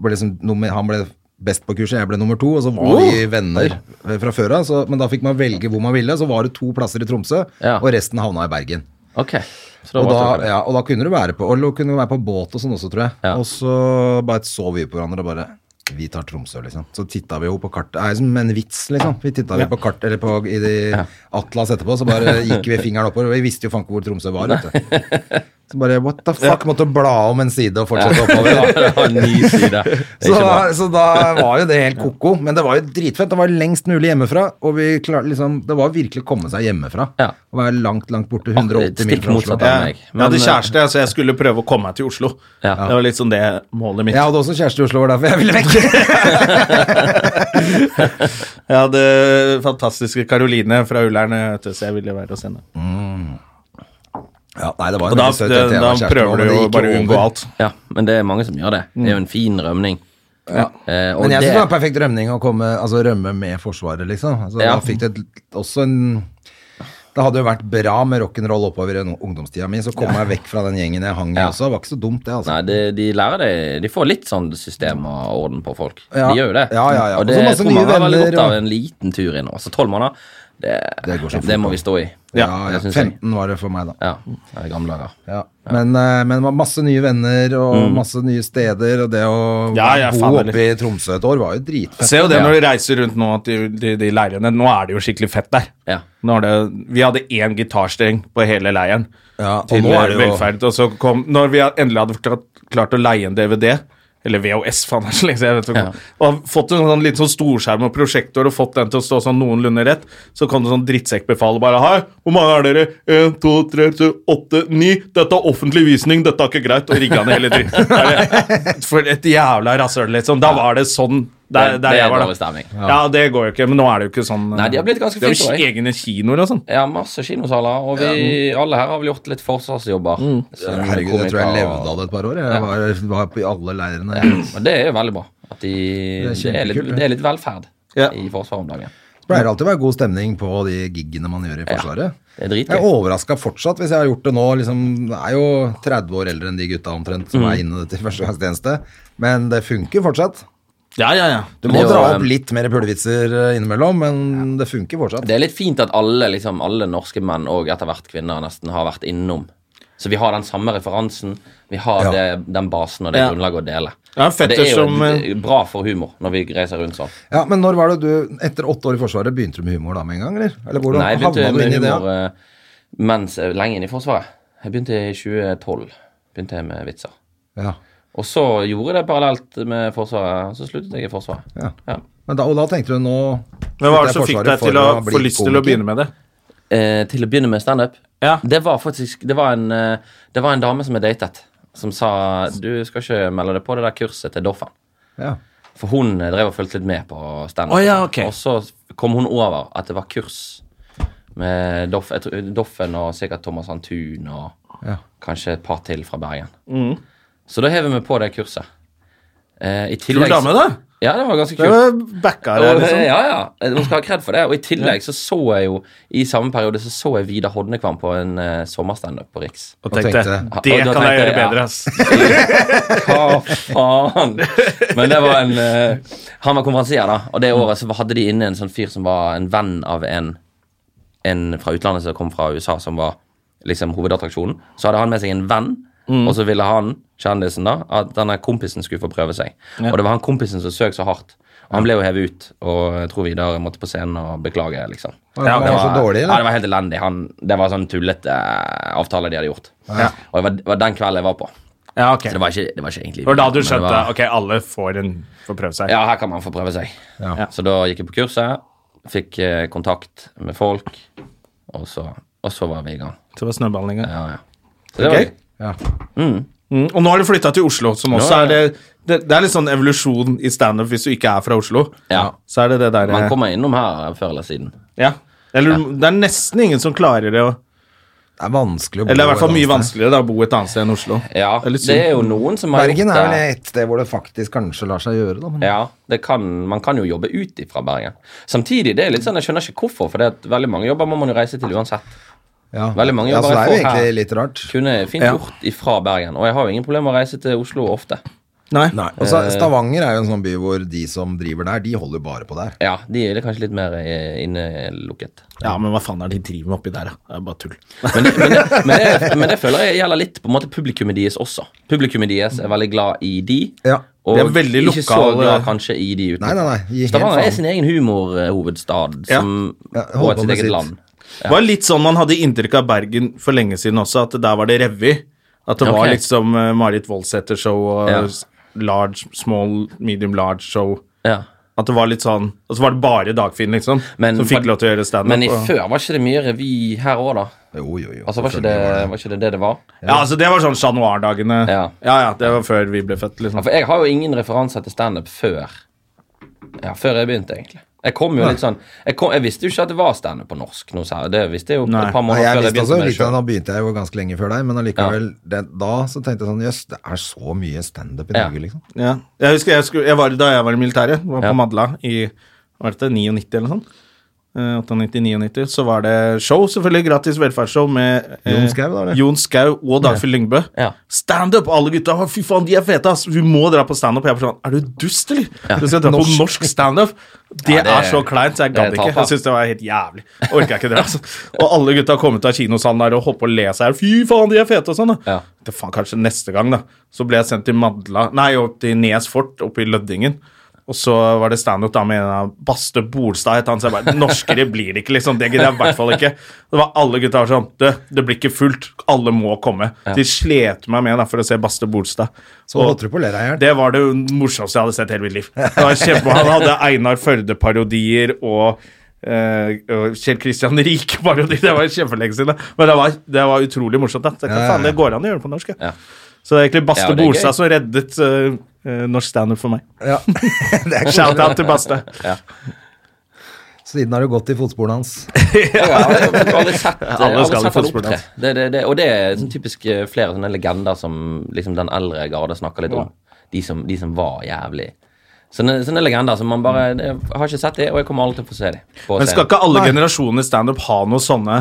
A: ble liksom, nummer, han ble best på kurset, jeg ble nummer to, og så var vi venner eh, fra før av. så- Men da fikk man velge hvor man ville, så var det to plasser i Tromsø,
C: Ja.
A: og resten havna i Bergen.
C: Ok, så da
A: Og
C: var
A: da,
C: det-
A: ja, og da kunne du være på og da kunne du være på båt og sånn også, tror jeg.
C: Ja.
A: Og så bare så vi på hverandre og bare Vi tar Tromsø, liksom. Så titta vi jo på kartet Det er som en vits, liksom. Vi titta vi på kart, eller på i de Atlas etterpå, så bare gikk vi fingeren oppover. Vi visste jo faen ikke hvor Tromsø var, vet du. Så bare what the fuck, måtte bla om en side og fortsette oppover. da.
C: det var en ny side. Det er
A: Så
C: ikke bra.
A: da, så da var jo det helt koko, men det var jo dritfett. Det var lengst mulig hjemmefra, og vi klar, liksom, det var virkelig å komme seg hjemmefra.
C: Ja.
A: Å være langt, langt borte. 180 mil
C: Stikk
A: fra Oslo.
C: motsatt av meg.
B: jeg, jeg
C: Men,
B: hadde
C: eh,
B: kjæreste, så jeg skulle prøve å komme meg til Oslo.
C: Ja.
B: Det var litt sånn det målet mitt.
A: Jeg hadde også kjæreste i Oslo, var derfor jeg ville vekk.
B: Jeg hadde fantastiske Karoline fra Ullern, eh, vet du, så jeg ville være hos henne.
A: Ja, nei, det var
B: Og
A: en
B: da,
A: veldig søt
B: da,
A: jente jeg
B: da
A: var kjæresten med,
B: prøver
A: men
B: du
A: det
B: jo
A: gikk
B: bare å
A: over.
B: unngå alt.
C: Ja, men det er mange som gjør det. Det er jo en fin rømning. Eh, og
A: Men jeg synes det var
C: det,
A: en perfekt rømning å komme, altså, rømme med Forsvaret, liksom. Altså,
C: Ja.
A: Da fikk du et, også en Det hadde jo vært bra med rock'n'roll oppover i no- ungdomstida mi, så kom jeg vekk fra den gjengen jeg hang i
C: Ja.
A: også. Det var ikke så dumt, det, altså.
C: Nei, de, de lærer det De får litt sånn system og orden på folk.
A: Ja.
C: De gjør jo det.
A: Ja, ja, ja.
C: Og det
A: Og så masse
C: tror
A: nye
C: mange har veldig
A: venner,
C: godt av
A: og-
C: en liten tur inn. Også tolv måneder, det,
A: Det
C: det,
A: går så fort,
C: må vi stå i.
A: Ja, ja,
C: det synes jeg.
A: 15 var det for meg, da.
C: Ja, det er gamle dager.
A: Ja. Mm. Men, eh, men det var masse nye venner og masse nye steder, og det å
B: Ja, ja,
A: bo
B: faen,
A: oppe i Tromsø et år var jo dritfett.
B: Se jo det når du reiser rundt nå, at de, de, de leirene Nå er det jo skikkelig fett der.
C: Ja.
B: Nå er det, vi hadde én gitarstreng på hele leiren
A: Ja, og
B: til
A: nå er det jo-
B: velferd. Og så kom, når vi endelig hadde klart, klart å leie en DVD, eller VHS, faen det er så lenge siden jeg vet ikke
C: Ja.
B: om- Og fått en sånn liten sånn storskjerm og prosjektor og fått den til å stå sånn noenlunde rett, så kom det sånn drittsekkbefal og bare Hei, hvor mange er dere? Én, to, tre, to, åtte, ni. Dette er offentlig visning, dette er ikke greit. Og rigga ned hele dritten. Bare, For et jævla rasshøl, liksom. Da var det sånn. Der, der
C: Det- det er
B: jeg var, da.
C: dårlig stemning.
B: Ja. det går jo ikke. Men nå er det jo ikke sånn.
C: Nei, de har blitt ganske
B: Det er
C: flinke,
B: jo
C: da, jeg.
B: egne kinoer og sånn.
C: Ja, masse kinosaler, og vi alle her har vel gjort litt forsvarsjobber. Så
A: Mm. Herregud, jeg tror jeg
C: komikere og-
A: levde av det et par år. Jeg var, var på i alle leirene.
C: Og det er jo veldig bra. At de, det,
A: Det er
C: er litt,
A: kjempekult, det.
C: det er litt velferd
B: Ja.
C: i Forsvaret om dagen.
A: Det pleier alltid å være god stemning på de giggene man gjør i Forsvaret.
C: det er dritgøy.
A: jeg er overraska fortsatt hvis jeg har gjort det nå. Liksom, jeg er jo 30 år eldre enn de gutta omtrent som
C: Mm.
A: er inne til førstegangstjeneste. Men det funker fortsatt.
B: Ja, ja, ja.
A: Du må
C: Det er jo,
A: dra opp
C: eh,
A: litt mer pulevitser eh, innimellom, men det funker fortsatt.
C: Det er litt fint at alle, liksom, alle norske menn og etter hvert kvinner nesten har vært innom. Så vi har den samme referansen, vi har
A: Ja.
C: det, den basen og det
B: Ja.
C: grunnlaget å dele.
B: Ja,
C: Og det er jo
B: fetter
A: eh,
C: d- bra for humor når vi reiser rundt sånn.
A: Ja, Men når var det du, etter åtte år i Forsvaret, begynte du med humor da med en gang, eller? Eller hvordan
C: Nei, jeg
A: havna
C: begynte
A: du inn
C: med
A: i det?
C: humor eh, mens, eh, lenge inn i Forsvaret. Jeg begynte i 2012. Begynte jeg med vitser.
A: Ja.
C: Og så gjorde jeg det parallelt med Forsvaret, og så sluttet jeg i Forsvaret.
A: Ja.
C: Ja.
A: Men da, og da tenkte du nå
B: Men hva var det som
A: slutter
B: fikk
A: jeg Forsvaret
B: deg til å
A: for å
B: få
A: bli
B: lyst til å
A: komiker?
B: begynne med det?
C: eh, til å begynne med standup.
B: Ja.
C: Det var faktisk det var, en, eh, det var en dame som jeg datet, som sa du skal ikke melde deg på det der kurset til Doffen.
A: Ja.
C: For hun eh, drev og fulgte litt med på standup.
B: Å, ja, ok.
C: Og så kom hun over at det var kurs med Doff, jeg tror- Doffen og sikkert Thomas Antun og
A: Ja.
C: kanskje et par til fra Bergen.
B: Mm.
C: Så da hev vi meg på det kurset. Eh, i
B: Kul
C: tillegg,
B: dame, da.
C: Ja, det var ganske kult.
B: Det var backa deg,
C: Og- eh,
B: liksom.
C: Ja, ja. Hun skal ha kred for det. Og i tillegg så så jeg jo i samme periode så så jeg Vidar Hodnekvam på en uh, sommerstandup på Riks.
B: Og
A: tenkte-
B: tenkte Det
C: Og da
B: kan jeg
C: tenkte jeg,
B: gjøre
C: ja.
B: bedre, ass.
C: Hva faen? Men det var en eh, Han var konferansier, da. Og
B: Mm.
C: det året så hadde de inne en sånn fyr som var en venn av en, en fra utlandet som kom fra USA, som var liksom hovedattraksjonen. Så hadde han med seg en venn,
B: Mm.
C: og så ville han, kjendisen, da, at denne kompisen skulle få prøve seg. Og det var han kompisen som søk så hardt. Og han ble jo hevet ut, og jeg tror Vidar måtte på scenen og beklage, liksom.
A: Ja, det var så dårlig, eller?
C: ja, det var helt elendig. Han, det var sånn tullete eh, avtale de hadde gjort. Og det var, det var den kvelden jeg var på.
B: Ja, ok.
C: Så det var ikke, det var ikke egentlig
B: Det var da du
C: men det
B: skjønte
C: var-
B: ok, alle får en får prøve seg.
C: Ja, her kan man få prøve seg. Så da gikk jeg på kurset, fikk eh, kontakt med folk, og så, og så var vi i gang.
B: Så det var snøballinga.
C: Ja, ja. Så det var
B: Ok. Mm, og nå har du flytta til Oslo, som også
C: Nå er
B: er det, det Det er litt sånn evolusjon i standup hvis du ikke er fra Oslo.
C: Ja.
B: Så er det det der eh,
C: Man kommer innom her eh, før eller siden.
B: ja. Eller det er nesten ingen som klarer det. å-
A: Det er vanskelig å bo
B: Eller det er i hvert fall
A: et
B: mye
A: annet sted.
B: vanskeligere da, å bo et annet sted enn Oslo.
C: Ja,
B: er litt
C: det er jo noen som har
A: Bergen er
C: gjort
A: vel
C: det.
A: et sted hvor det faktisk kanskje lar seg gjøre, da. Men
C: Ja, det kan, man kan jo jobbe ut ifra Bergen. Samtidig, det er litt sånn, jeg skjønner ikke hvorfor, for det at veldig mange jobber må man jo reise til uansett.
A: Ja.
C: Veldig mange
A: ja, så
C: jobber
A: det er
C: jeg
A: jo
C: får her.
A: egentlig litt rart.
C: Kunne fint
B: Ja.
C: gjort ifra Bergen, og jeg har jo ingen problemer med å reise til Oslo ofte.
B: Nei.
A: Og så
C: eh,
A: Stavanger er jo en sånn by hvor de som driver der, de holder bare på der.
C: Ja, de er kanskje litt mer eh, innelukket.
B: Ja, men hva faen er det de driver med oppi der, da? Det er bare tull.
C: Men det, men, det, men, det, men det føler jeg gjelder litt på en måte publikummet deres også. Publikummet deres er veldig glad i de,
A: Ja.
C: og
B: Det er veldig
C: ikke så
B: lokale-
C: glad kanskje i de utenfor.
A: eh, Nei, nei, nei, gi helt
C: Stavanger
A: faen.
C: er sin egen humorhovedstad
B: Ja.
C: som,
A: Ja,
C: og
A: hold på
C: et sitt
A: med
C: eget
A: sitt.
C: land.
B: Det var litt sånn man hadde inntrykk av Bergen for lenge siden også, at der var det revy. At det var
C: Ok.
B: liksom eh, Marit Voldsæter-show og
C: Ja.
B: s- large, small, medium large-show.
C: Ja.
B: At det var litt sånn Og så var det bare Dagfinn, liksom,
C: Men-
B: som fikk lov til å gjøre standup.
C: Men i
B: og-
C: før var ikke det mye revy her òg, da?
A: Jo, jo, jo.
C: Altså, var
A: selvfølgelig
C: ikke, det,
A: var det.
C: var ikke det det det var?
B: Ja, altså det var sånn Chat Noir-dagene. Ja.
C: Ja.
B: ja, det var før vi ble født,
C: Ja,
B: liksom.
C: for jeg har jo ingen referanser til standup før Ja, før jeg begynte, egentlig. Jeg kom jo litt sånn Jeg, kom, jeg visste jo ikke at det var standup på norsk noe særlig. Det visste jeg jo
B: Nei.
C: et par
A: Nei,
C: måneder
A: jeg
C: før jeg
A: visste også
C: begynte med det
A: litt, av det,
C: sjøl.
A: da begynte jeg jo ganske lenge før deg, men allikevel det, Da så tenkte jeg sånn Jøss, det er så mye standup i
C: Ja.
A: Norge, liksom.
B: Ja. Jeg husker jeg skulle, jeg var, Da jeg var i militæret, var på
C: Ja.
B: Madla i var det 99 eller noe sånt. eh, 98, 99, så var det show, selvfølgelig. Gratis velferdsshow med eh,
A: Jon Skau, da, eller?
B: Jon Skau og Dagfjell Lyngbø.
C: Ja.
B: Standup! Alle gutta å, fy faen, de er fete, ass! Vi må dra på standup. Jeg er sånn, er du dust, eller? Du skal dra på norsk standup? Det,
C: Ja, det-
B: er så kleint, så jeg gadd
C: det er
B: ikke.
C: tap, da.
B: Jeg synes det var helt jævlig. Orker jeg ikke det, altså. Og alle gutta har kommet ut av kinosalen der og holdt på å le seg her. Fy faen, de er fete og sånn, da.
C: Ja.
B: Det faen, kanskje neste gang, da. Så ble jeg sendt til Madla, nei, opp til Nes Fort, oppe i Lødingen. Og så var det standup da med en av Baste Bolstad, het han. Så jeg bare Norskere blir det ikke, liksom. Det gidder jeg i hvert fall ikke. Det var alle gutta var sånn Du, det blir ikke fullt. Alle må komme. De slet meg med da, for å se Baste Bolstad.
A: Så holdt du på å le deg i hjel.
B: Det var det morsomste jeg hadde sett i hele mitt liv. Det var kjempe, han hadde Einar Førde-parodier og eh, og Kjell Christian Rike-parodier. Det var kjempelenge siden. Men det var, det var utrolig morsomt. Da. Det,
A: Ja, ja, ja.
B: faen, det går an å gjøre det på norsk.
C: Ja.
B: Ja. Så det er egentlig Baste
C: Ja, det er gøy.
B: Bolstad som reddet eh, eh, norsk standup for meg.
A: Ja. Det er ikke-
B: Shout-out til Baste.
A: Siden har du gått i fotsporene hans.
C: Ja, jeg har aldri sett, jeg har
B: Alle
C: aldri
B: skal
C: sett
B: få
C: han
B: spørre
C: opptre. Det, det, det, og det er sånn typisk eh, flere sånne legender som liksom den eldre garde snakker litt om. De som, de som var jævlig. Sånne, sånne legender som man bare Jeg har ikke sett det, og jeg kommer aldri til å få se det. på
B: Mm. Men skal
C: scenen.
B: ikke alle generasjoner standup ha noe sånne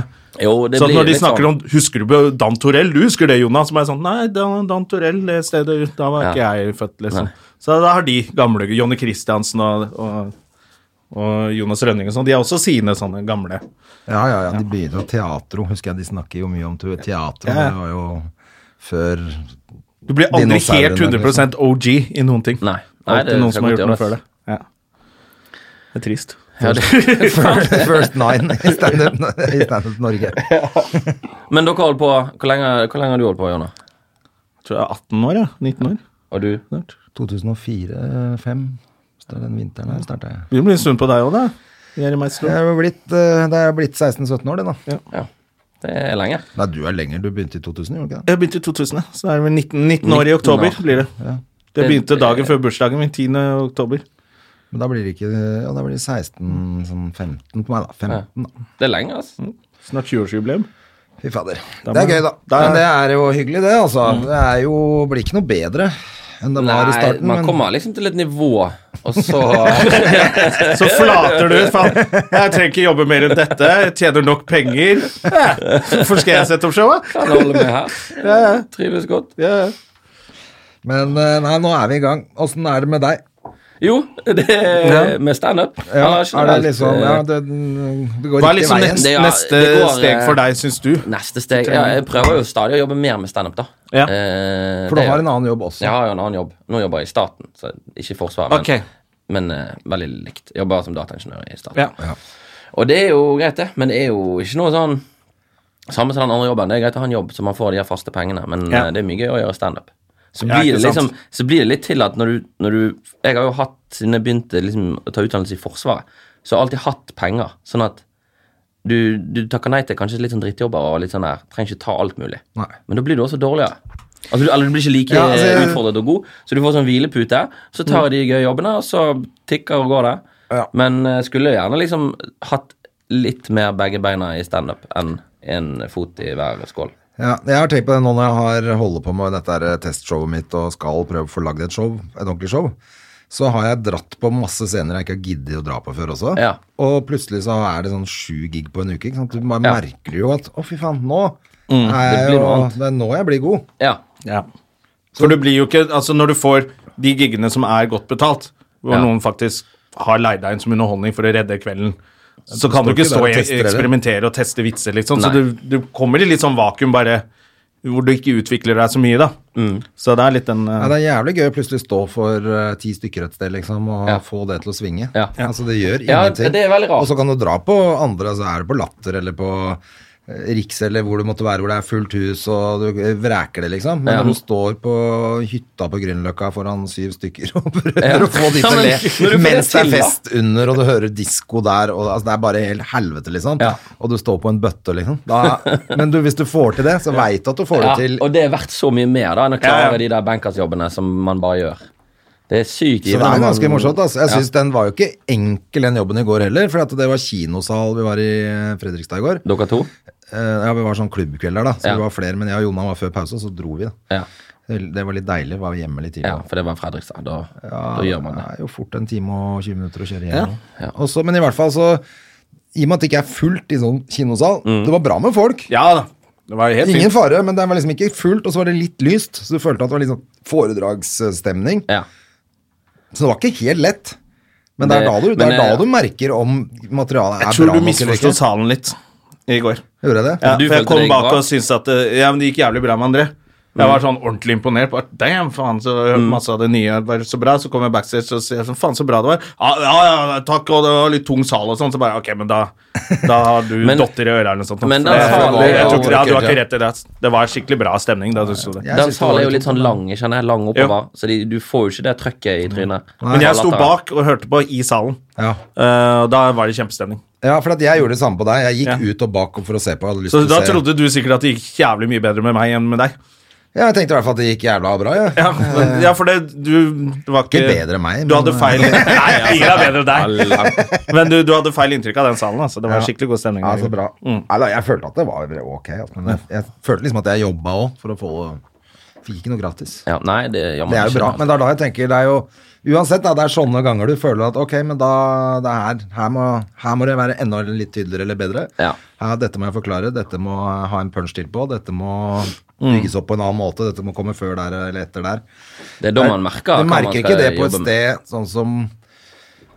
C: jo, det
B: Så at
C: blir
B: når de
C: litt
B: snakker
C: sånn-
B: om Husker du på Dan Torell? Du husker det, Jonas? Som er sånn Nei, Dan, Dan Torell, det stedet Da var ikke
C: Ja.
B: jeg født, liksom.
C: Nei.
B: Så da har de gamle Jonny Christiansen og, og, og Jonas Rønning og sånn. De er også sine sånne gamle.
A: Ja, ja, ja. De begynner å teatro. Husker jeg de snakker jo mye om te- teatro.
B: Ja.
A: Det var jo før
B: Du blir aldri
A: Dinosaurene,
B: helt 100 OG i noen ting.
C: liksom. Nei. Nei,
B: Alltid
C: det
B: noen
C: skal
B: som har
C: godt
B: gjort noe
C: gjøres.
B: før det. Ja. Det er trist.
C: Ja, det,
A: First Nine i Standup i stand Norge.
C: Men dere holdt på Hvor lenge, hvor lenge har du holdt på, Jonna?
B: Jeg tror jeg er 18 år, ja. 19 år.
C: Og du?
B: snart.
A: 2004-2005. Så det er den vinteren her starta jeg.
B: Det blir en stund på deg òg, da. Jeremiah
A: Det er jo blitt, eh, det er blitt 16-17 år, det, da.
C: Ja. Det er lenge.
A: Nei, du er lenger. Du begynte i 2000, gjorde du ikke det?
B: Jeg begynte i 2000, så da er det vel 19, 19 år i
C: 19
B: oktober.
C: år.
B: blir det. Det
C: Det-
B: begynte dagen før bursdagen min, 10. oktober.
A: Men da blir det ikke Ja, da blir det 16, sånn 15 på meg, da. 15, da.
C: Det er lenge, altså.
B: Snart 20-årsjubileum.
A: Fy fader.
B: Da
A: Det er
B: må-
A: gøy, da.
B: Da er-
A: Men det er jo hyggelig, det, altså. Det er jo, blir ikke noe bedre enn det var i
C: Nei,
A: starten.
C: man
A: men-
C: kommer liksom til et nivå, og så
B: Så flater du ut. Faen, jeg trenger ikke jobbe mer enn dette. Jeg tjener nok penger. Ja, Hvorfor skal jeg sette opp showet?
C: kan jeg holde med her. Trives godt.
B: Ja, ja.
A: Men eh, nei, nå er vi i gang. Åssen er det med deg?
C: Jo, det er med standup.
A: Ja,
C: Eller
A: er det
C: generelt,
A: liksom
C: eh,
A: Ja, det, det går
B: Hva er
A: riktig
B: liksom
A: veien.
B: neste,
C: Det er-
B: neste
C: det går, eh,
B: steg for deg, syns du?
C: Neste steg ja, Jeg prøver jo stadig å jobbe mer med standup, da.
B: Ja.
C: Eh,
A: For
C: det
A: du har
C: gjør jeg.
A: en annen jobb også.
C: Jeg har jo en annen jobb. Nå jobber jeg i staten, så ikke i Forsvaret, men,
B: Ok.
C: men eh, veldig likt. Jeg jobber som dataingeniør i staten.
B: Ja.
C: Og det er jo greit, det, men det er jo ikke noe sånn Samme som den andre jobben. Det er greit å ha en jobb så man får de her faste pengene, men
B: Ja.
C: eh, det er mye gøy å gjøre standup. Så,
B: Ja, ikke
C: blir det
B: sant?
C: liksom, så blir det litt til at når du, når du Jeg har jo hatt, siden jeg begynte liksom, å ta utdannelse i Forsvaret, så har jeg alltid hatt penger. Sånn at du, du takker nei til kanskje litt sånn drittjobber og litt sånn der. Trenger ikke ta alt mulig.
A: Nei.
C: Men da blir du også dårligere. Altså, du, eller du blir ikke like
A: Ja, altså, jeg- Mm.
C: utfordret og god, så du får sånn hvilepute. Så tar jeg de gøye jobbene, og så tikker og går det.
A: Ja.
C: Men eh, skulle gjerne liksom hatt litt mer begge beina i standup enn en fot i hver skål.
A: Ja, jeg har tenkt på det nå når jeg har holder på med dette her eh, testshowet mitt og skal prøve å få lagd et show, et ordentlig show. Så har jeg dratt på masse scener jeg ikke har giddet å dra på før også.
C: Ja.
A: Og plutselig så er det sånn sju gig på en uke. Ikke sant? Du bare
C: Ja.
A: merker jo at å, fy faen, nå er jeg
C: det blir
A: jo
C: noe annet.
A: Det er nå jeg blir god.
C: Ja.
B: Ja. For du blir jo ikke Altså, når du får de giggene som er godt betalt, hvor
C: Ja.
B: noen faktisk har leid deg inn som underholdning for å redde kvelden, så kan du ikke
A: ikke
B: stå
A: der og
B: og
A: tester heller.
B: eksperimentere og teste vitser, liksom. Så
C: Nei.
B: du, du kommer i litt sånn vakuum, bare hvor du ikke utvikler deg så mye, da. Så det er litt den eh,
A: Ja, det er jævlig gøy å plutselig stå for eh, ti stykker et sted, liksom, og
C: Ja.
A: få det til å svinge.
C: Ja.
A: Altså, det gjør
C: Ja,
A: ingenting.
C: det er veldig rart.
A: Og så kan du dra på andre, altså er det på Latter eller på eh, Riks eller hvor det måtte være, hvor det er fullt hus og du eh, vreker det, liksom. Men
C: Ja.
A: når du står på hytta på Grünerløkka foran syv stykker og prøver
C: Ja.
A: å få de til å
C: Ja, men når
A: le
C: du får
A: mens det
C: det
A: er
C: til, da.
A: fest under, og du hører disko der, og altså, det er bare helt helvete, liksom.
C: Ja.
A: Og du står på en bøtte, liksom. Da, men du, hvis du får til det, så veit du at du får
C: ja.
A: det til.
C: Og det er verdt så mye mer da enn å klare
B: Ja, ja.
C: de der bankersjobbene som man bare gjør. Det er sykt
A: Så det er
C: når man-
A: ganske morsomt. Altså. Jeg synes Den var jo ikke enkel, den jobben i går heller. For at det var kinosal vi var i eh, Fredrikstad i går.
C: Dere to?
A: Eh, Ja, Vi var sånn klubbkveld der, da. Så
C: Ja.
A: vi var flere, men jeg og Jonna var før pause, og så dro vi. da.
C: Ja.
A: Det det var litt deilig. Var hjemme litt tidlig.
C: ja, for det var Fredrikstad. Da, da gjør man det.
A: er jo fort en time og 20 minutter å kjøre hjem.
C: Ja.
A: Og så- men i hvert fall så i og med at det ikke er fullt i sånn kinosal
C: Mm.
A: Det var bra med folk.
B: Ja da. Det var helt
A: Ingen
B: fint.
A: fare, men det var liksom ikke fullt, og så var det litt lyst, så du følte at det var litt sånn foredragsstemning.
C: Ja.
A: Så det var ikke helt lett. Men det er
C: Det-
A: da du, det
C: men,
A: er da
C: eh,
A: du merker om materialet er
B: Jeg tror
A: bra
B: du
A: nok eller
B: misforsto
A: ikke.
B: salen litt i går.
A: Gjorde jeg det?
B: Ja,
C: du
B: for jeg
C: følte
B: kom
C: det gikk
B: bak
C: bra? Mm.
B: og syntes at eh, ja, men det gikk jævlig bra med André. Jeg var sånn ordentlig imponert. Bare, Damn, faen, så masse av det nye var så bra. Så kom jeg backstage og sier sånn, faen, så bra det var. Ja, ja, ja, takk, og det var litt tung sal og sånn. Så bare, ok, men da, da har du
C: Men-
B: dotter i øra eller noe sånt.
C: men
B: For
C: den
B: det- jeg,
C: salen er
B: tror
C: jo-
B: ikke- ja, du har ikke rett i det. ass. Det var skikkelig bra stemning da du så det.
A: Jeg
C: Den
A: synes det var
C: salen er jo
A: litt
C: litt sånn lang, kjenner jeg. Lang oppover. Så de, du får jo ikke det trøkket i trynet.
B: Men jeg sto
C: Latter.
B: bak og hørte på i salen.
A: Ja.
B: Eh, og da var det kjempestemning.
A: ja, for at jeg gjorde det samme på deg. Jeg gikk
B: Ja.
A: ut og bak for å se på. Jeg hadde lyst
B: Så
A: til
B: da
A: å se.
B: trodde du sikkert at det gikk jævlig mye bedre med meg enn med deg.
A: Ja, jeg tenkte i hvert fall at det gikk jævla bra. Ja.
B: Ja, men, ja for det, du det var ikke
A: Ikke bedre enn meg, men-
B: Du
A: eh,
B: hadde feil Nei, ingen er bedre enn deg. Men du, du hadde feil inntrykk av den salen. Altså. Det var skikkelig god stemning.
A: Ja, så bra.
B: Mm.
A: Nei, da, jeg følte at det var ok. altså, Men jeg, jeg følte liksom at jeg jobba òg for å få Fikk ikke noe gratis.
C: Ja, nei, det gjør man
A: Det er jo
C: ikke.
A: bra, men det er da jeg tenker det er jo Uansett, da, det er sånne ganger du føler at ok, men da det er her, her, må, her må det være enda litt tydeligere eller bedre.
C: Ja.
A: Her, dette må jeg forklare, dette må jeg ha en punch til på, dette må
C: Mm.
A: bygges opp på en annen måte, dette må komme før der eller etter der.
C: Det er da man merker
A: du
C: hva man
A: merker
C: skal
A: ikke det på et
C: jobbe med.
A: sted sånn som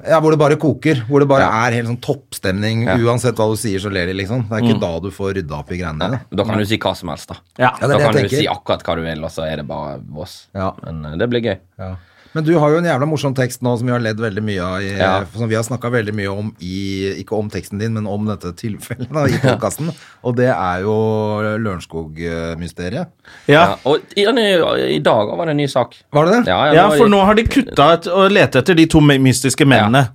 A: ja, Hvor det bare koker. Hvor det bare er helt sånn toppstemning.
C: Ja. Mm.
A: Uansett hva du sier, så ler de, liksom. Det er ikke da du får rydda opp i greiene dine.
C: Da kan du si hva som helst, da.
B: Ja.
A: Ja, det er
C: da
A: det jeg
C: kan du
A: tenker.
C: si akkurat hva du vil, og så er det bare vås.
A: Ja.
C: Men eh, det blir gøy.
A: Ja. Men du har jo en jævla morsom tekst nå som vi har ledd veldig mye av, i,
C: Ja.
A: som vi har snakka veldig mye om i Ikke om teksten din, men om dette tilfellet da, i podkasten. Og det er jo Lørenskog-mysteriet.
B: Ja.
C: Ja, og i, den er- i dag var det en ny sak.
A: Var det det?
C: Ja,
B: ja, for nå har de kutta ut å lete etter de to me- mystiske mennene.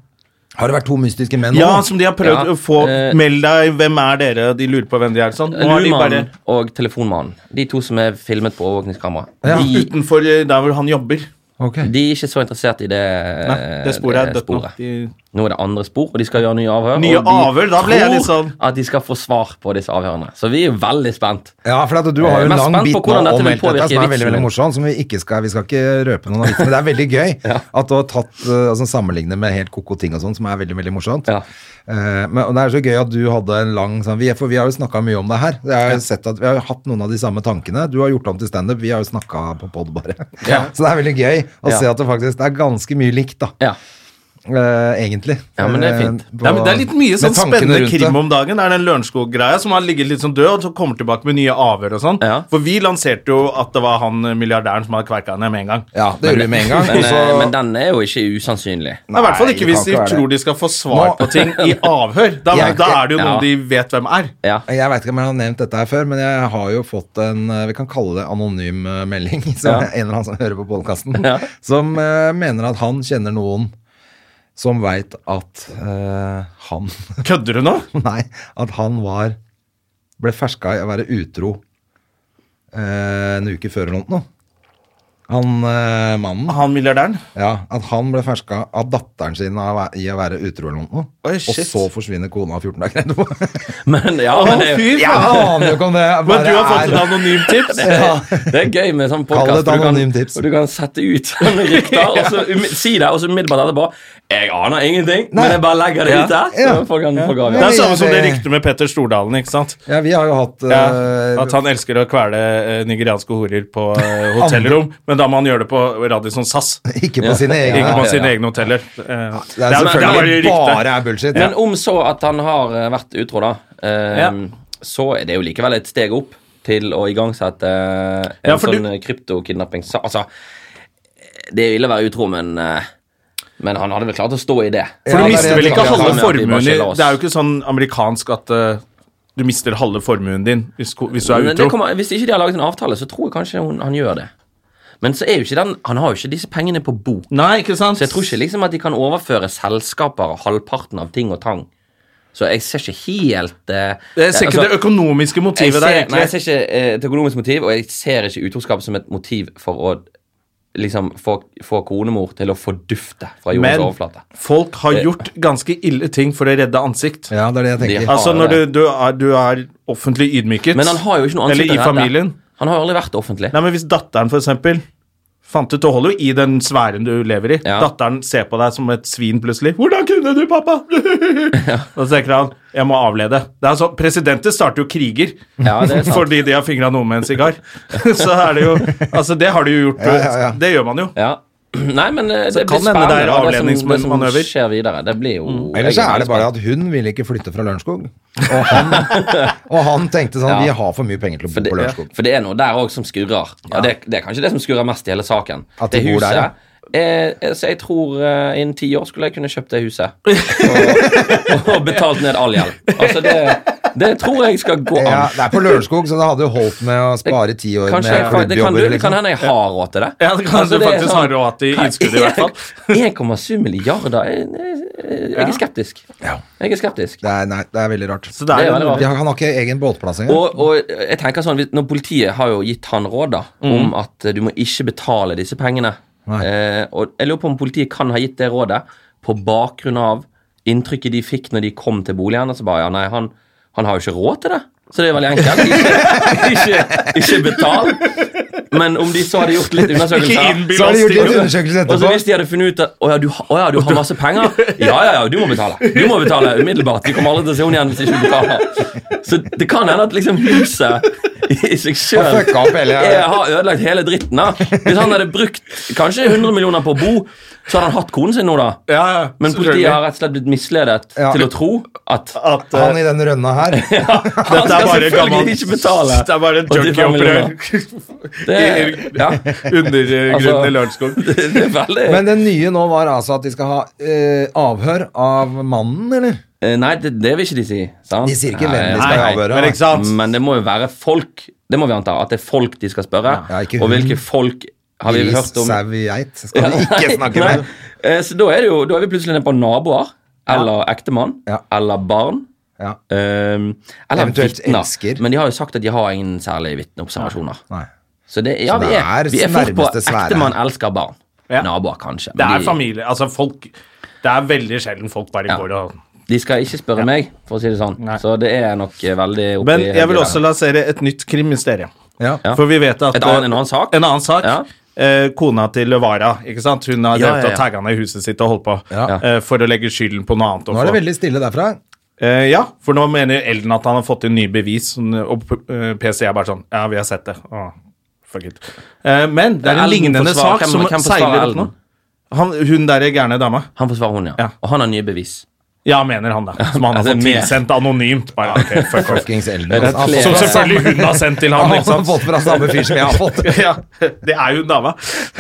A: Har det vært to mystiske menn
B: Ja,
A: nå?
B: som de har prøvd
C: Ja.
B: å få
C: Eh,
B: Meld deg, hvem er dere? De lurer på hvem de er. Sånn. Nå har de bare
C: Lumannen og Telefonmannen, de to som er filmet på overvåkningskamera,
A: Ja.
C: de,
B: utenfor eh, der hvor han jobber.
A: Ok.
C: de er ikke så interessert i det,
B: Nei, det sporet er
C: det
B: dødt nå.
C: sporet.
B: De,
C: Nå er det andre spor, og de skal gjøre nye avhør.
B: Nye
C: og de
B: avhør, da ble jeg litt
C: tror
B: sånn-
C: At de skal få svar på disse avhørene. Så vi er jo veldig spent.
A: Ja, for at du har jo
C: Jeg er
A: en lang
C: Eh, spent
A: bit
C: på
A: nå
C: hvordan dette
A: om
C: vil
A: helt dette
C: påvirke
A: som er veldig
C: vitsen
A: veldig
C: min.
A: morsom, som vi ikke skal Vi skal ikke røpe noen av vitsene, men det er veldig gøy at du har tatt eh, altså, sammenlignet med helt koko ting og sånn, som er veldig veldig morsomt.
C: Ja.
A: Eh, men og det er så gøy at du hadde en lang sånn vi, For vi har jo snakka mye om det her. Jeg har jo sett at Vi har jo hatt noen av de samme tankene. Du har gjort om til standup, vi har jo snakka på pod, bare. Så det er veldig gøy å
C: Ja.
A: se at det faktisk det er ganske mye likt, da.
C: Ja.
A: Eh, egentlig.
C: Ja, men det er fint.
A: Eh,
B: Nei, men det er litt mye
A: med
B: sånn
A: tankene
B: spennende
A: rundt det.
B: krim om dagen. Det er den Lørenskog-greia som har ligget litt sånn død, og så kommer tilbake med nye avhør og sånn.
C: Ja.
B: For vi lanserte jo at det var han eh, milliardæren som hadde kverka henne med en gang.
A: Ja, det gjorde vi med en gang.
C: Men,
A: og
C: eh,
A: så-
C: men den er jo ikke usannsynlig.
B: Nei, I hvert fall
A: Nei,
B: ikke
A: det
B: hvis
A: kan
B: de
A: ikke være det.
B: tror de skal få svar
A: Nå-
B: på ting i avhør. Da,
A: Jeg-
B: da er det jo
C: Ja.
B: noen de vet hvem er.
C: Ja.
A: Jeg vet ikke om jeg har nevnt dette her før, men jeg har jo fått en eh, vi kan kalle det anonym eh, melding. Som
C: Ja.
A: En eller annen som hører på podkasten,
C: Ja.
A: som eh, mener at han kjenner noen som veit at eh, han
B: Kødder du nå?
A: Nei, at han var Ble ferska i å være utro eh, en uke før eller noe. Han eh, mannen.
B: Han milliardæren?
A: Ja, At han ble ferska av datteren sin av, i å være utro eller noe.
B: Oi,
A: og
B: shit.
A: så forsvinner kona 14 dager etterpå.
C: Men, ja,
B: Å,
C: men det, er
B: fy
C: jo-
A: Jeg
B: faen!
A: aner jo ikke om det
B: Men du
A: bare
B: har fått
A: er-
B: et anonymt tips?
C: det er gøy med sånn
A: Kall det et
C: podkast. Du,
A: anonymt
C: kan-
A: tips.
C: og du kan sette ut sånne rykter, og så umi- si det, og så umiddelbart etterpå Jeg aner ingenting,
A: Nei.
C: men jeg bare legger det ut der.
A: Ja.
C: Så folk kan få
B: Det
C: gave.
B: er samme som det
A: Det-
B: ryktet med Petter Stordalen, ikke sant?
A: Ja, vi har jo hatt
B: Ja,
A: eh,
B: at han elsker å kvele eh, nigerianske horer på eh, hotellrom, men da må han gjøre det på Radisson SAS.
A: Ikke på
C: Ja.
A: sine egne.
B: Ikke
C: Ja,
B: på
C: ja,
B: sine
C: ja.
B: egne hoteller.
A: Det
B: Eh,
A: er selvfølgelig bare er bullshit.
C: Men om så at han har eh, vært utro, da, eh,
B: Ja.
C: så er det jo likevel et steg opp til å igangsette eh, en
B: Ja, for du-
C: sånn eh, kryptokidnapping. Så, altså, det er ille å være utro, men, eh, men han hadde vel klart å stå i det.
B: For
A: Ja,
B: du
A: det er
B: mister
A: det
B: vel
A: jeg
B: ikke
A: tenker.
B: halve
C: Ja, men at de bare
B: formuen din?
C: skjeller oss.
B: Det er jo ikke sånn amerikansk at eh, du mister halve formuen din hvis, ko- hvis du er
C: Men det
B: utro.
C: kommer, hvis ikke de har laget en avtale, så tror jeg kanskje hun, han gjør det. Men så er jo ikke den, han har jo ikke disse pengene på bok.
B: Nei, ikke sant?
C: Så jeg tror ikke liksom at de kan overføre selskaper og halvparten av ting og tang. Så jeg ser ikke helt eh,
B: Jeg ser ikke
C: altså,
B: det økonomiske
C: jeg
B: motivet
C: ser,
B: der,
C: nei,
B: egentlig.
C: jeg ser ikke eh, et økonomisk motiv, og jeg ser ikke utroskap som et motiv for å liksom få, få konemor til å fordufte fra jordens
B: Men
C: overflate.
B: folk
C: Eh.
B: har gjort ganske ille ting for å redde ansikt.
A: Ja, det er det jeg tenker.
C: De har-
B: Altså, når du,
C: det.
B: du, er, du er offentlig ydmyket
C: Men han har jo ikke noe ansikt
B: Eller i
C: å redde.
B: familien.
C: Han har jo aldri vært offentlig.
B: Nei, men hvis datteren, for eksempel Fant ut, Du holder jo i den sfæren du lever i.
C: Ja.
B: Datteren ser på deg som et svin plutselig. 'Hvordan kunne du, pappa?' Og så tenker han 'jeg må avlede'. Det er sånn, Presidenter starter jo kriger
C: Ja, det er sant.
B: fordi de har fingra noen med en sigar. så er det jo Altså, det har du jo gjort. Det gjør man jo.
C: Ja. Nei, men eh, det
B: kan hende
C: blir spennende.
B: det er
C: da, som-
B: avledningsmanøver. Mm.
C: Det som skjer videre. Det blir jo
A: Eller så
C: jeg
A: er det
C: veldig
A: bare
C: spent.
A: at hun ville ikke flytte fra Lørenskog. Og han, og han tenkte sånn
C: Ja.
A: Vi har for mye penger til å
C: for
A: bo
C: det,
A: på Lørenskog.
C: for det er noe der òg som skurrer. Ja. Det, det er kanskje det som skurrer mest i hele saken.
A: At de
C: det
A: bor der, ja.
C: eh, eh, så jeg tror eh, innen ti år skulle jeg kunne kjøpt det huset. Og, og betalt ned all gjeld. Altså, det, det tror jeg skal gå an.
A: Ja, det er på Lørenskog, så det hadde jo holdt med å spare ti år
C: Kanskje jeg,
A: med
C: fa- det kan, du,
A: klubbjobber.
C: det kan
A: Liksom.
C: hende jeg har råd til det. Altså,
B: Ja, det kan du
C: det er sånn-
B: faktisk ha råd til innskudd i hvert fall.
C: 1,7 milliarder jeg, jeg, jeg er skeptisk. Jeg er skeptisk.
A: Det er, nei, det er veldig rart.
B: Så det er,
C: Det er
B: jo
C: veldig
B: noe-
C: rart.
A: De har, han har ikke egen båtplass engang.
C: Og, og jeg tenker sånn, hvis- når Politiet har jo gitt han råd da, om at eh, du må ikke betale disse pengene.
A: Nei.
C: Eh, og jeg lurer på om politiet kan ha gitt det rådet på bakgrunn av inntrykket de fikk når de kom til boligen. Og så bare, ja, nei, han, han har jo ikke råd til det. Så det er veldig enkelt. Ikke, ikke, ikke betal. Men om de så hadde gjort litt undersøkelser
B: Ikke innbill
A: Så har de
B: oss
A: gjort litt
B: ting.
A: undersøkelse
C: og så
A: etterpå.
C: Altså, hvis de hadde funnet ut at Å ja, du, å, ja, du har masse penger. Ja, ja, ja, du må betale. Du må betale umiddelbart. Vi kommer aldri til å se henne igjen hvis ikke du betaler. Så det kan hende at liksom huset i seg
A: Han
C: sjøl
A: fucka opp hele
C: har ødelagt hele dritten. da Hvis han hadde brukt kanskje 100 millioner på å bo, så hadde han hatt konen sin nå, da.
B: Ja, ja,
C: Men
B: selvfølgelig.
C: politiet har rett og slett blitt misledet
A: Ja.
C: til å tro at
B: At, eh,
A: Han i den rønna her.
C: han
B: Dette er
C: skal
B: bare gammel
C: selvfølgelig ikke betale.
B: Det er bare en
C: 85
B: junkie-opprør.
C: Det, ja,
B: Undergrunnen
C: Altså-
B: eh, i Lørenskog.
C: det, det er veldig
A: Men det nye nå var altså at de skal ha eh, avhør av mannen, eller?
C: Eh, Nei, det, det vil ikke de si. Sant?
A: De sier ikke
C: Nei,
A: hvem de
C: nei,
A: skal
C: nei.
A: avhøre.
B: Men ikke sant?
C: Men det må jo være folk. Det må vi anta. At det er folk de skal spørre.
A: Ja, ikke
C: og
A: hun.
C: hvilke folk har vi
A: Gris,
C: hørt om?
A: sau, geit. Skal vi ikke snakke
C: Nei.
A: med
C: Eh, Så da er, det jo, da er vi plutselig nede på naboer. Eller ektemann.
A: Ja.
C: Eller barn.
A: Ja.
C: ehm, eller
A: Eventuelt
C: vitner.
A: elsker.
C: Men de har jo sagt at de har ingen særlige vitneobservasjoner.
A: Nei.
C: Så det, ja,
A: Så
C: vi
A: det
C: er,
A: er
C: vi er fort på
A: nærmeste sfære.
C: ektemann elsker barn.
B: Ja.
C: Naboer, kanskje.
B: Det er
C: men
B: familie. Altså, folk Det er veldig sjelden folk bare går og
C: de, de skal ikke spørre meg, for å si det sånn. Så det er nok eh, veldig oppi
B: Men jeg vil
C: høyre.
B: også lansere et nytt krimmysterium.
A: Ja.
C: Ja.
B: For vi vet at
C: Et annet- en annen sak?
B: En annen sak.
C: Ja.
B: Eh, kona til Løvara, ikke sant? hun har
C: Ja,
B: drevet
C: ja,
B: og
C: ja.
B: tagga han i huset sitt og holdt på
A: Ja.
B: eh, for å legge skylden på noe annet. og
A: Nå er det
B: få-
A: veldig stille derfra.
B: Eh, ja, for nå mener Elden at han har fått inn nye bevis, sånn, og p- eh, PC er bare sånn Ja, vi har sett det. Åh, fuck it. Eh, men det er en
C: Elden
B: lignende
C: forsvarer-
B: sak
C: hvem-
B: som
C: hvem forsvarer
B: seiler opp
C: Elden?
B: nå. Han, hun der gærne dama.
C: Han forsvarer hun, ja.
B: Ja.
C: Og han har nye bevis.
B: Ja, mener han, da. Som han har
C: Altså,
B: fått
C: mer.
B: tilsendt anonymt. Bare, ok, fuck off.
A: Fuckings Elden.
C: Det er
A: Han har
C: flere.
A: fått
B: Som
A: fra samme-
B: selvfølgelig hun har sendt til
A: han
B: han,
A: har
B: ikke
A: også
B: sant?
A: fått fra samme fyr som jeg har fått.
B: Ja, det er jo en dame.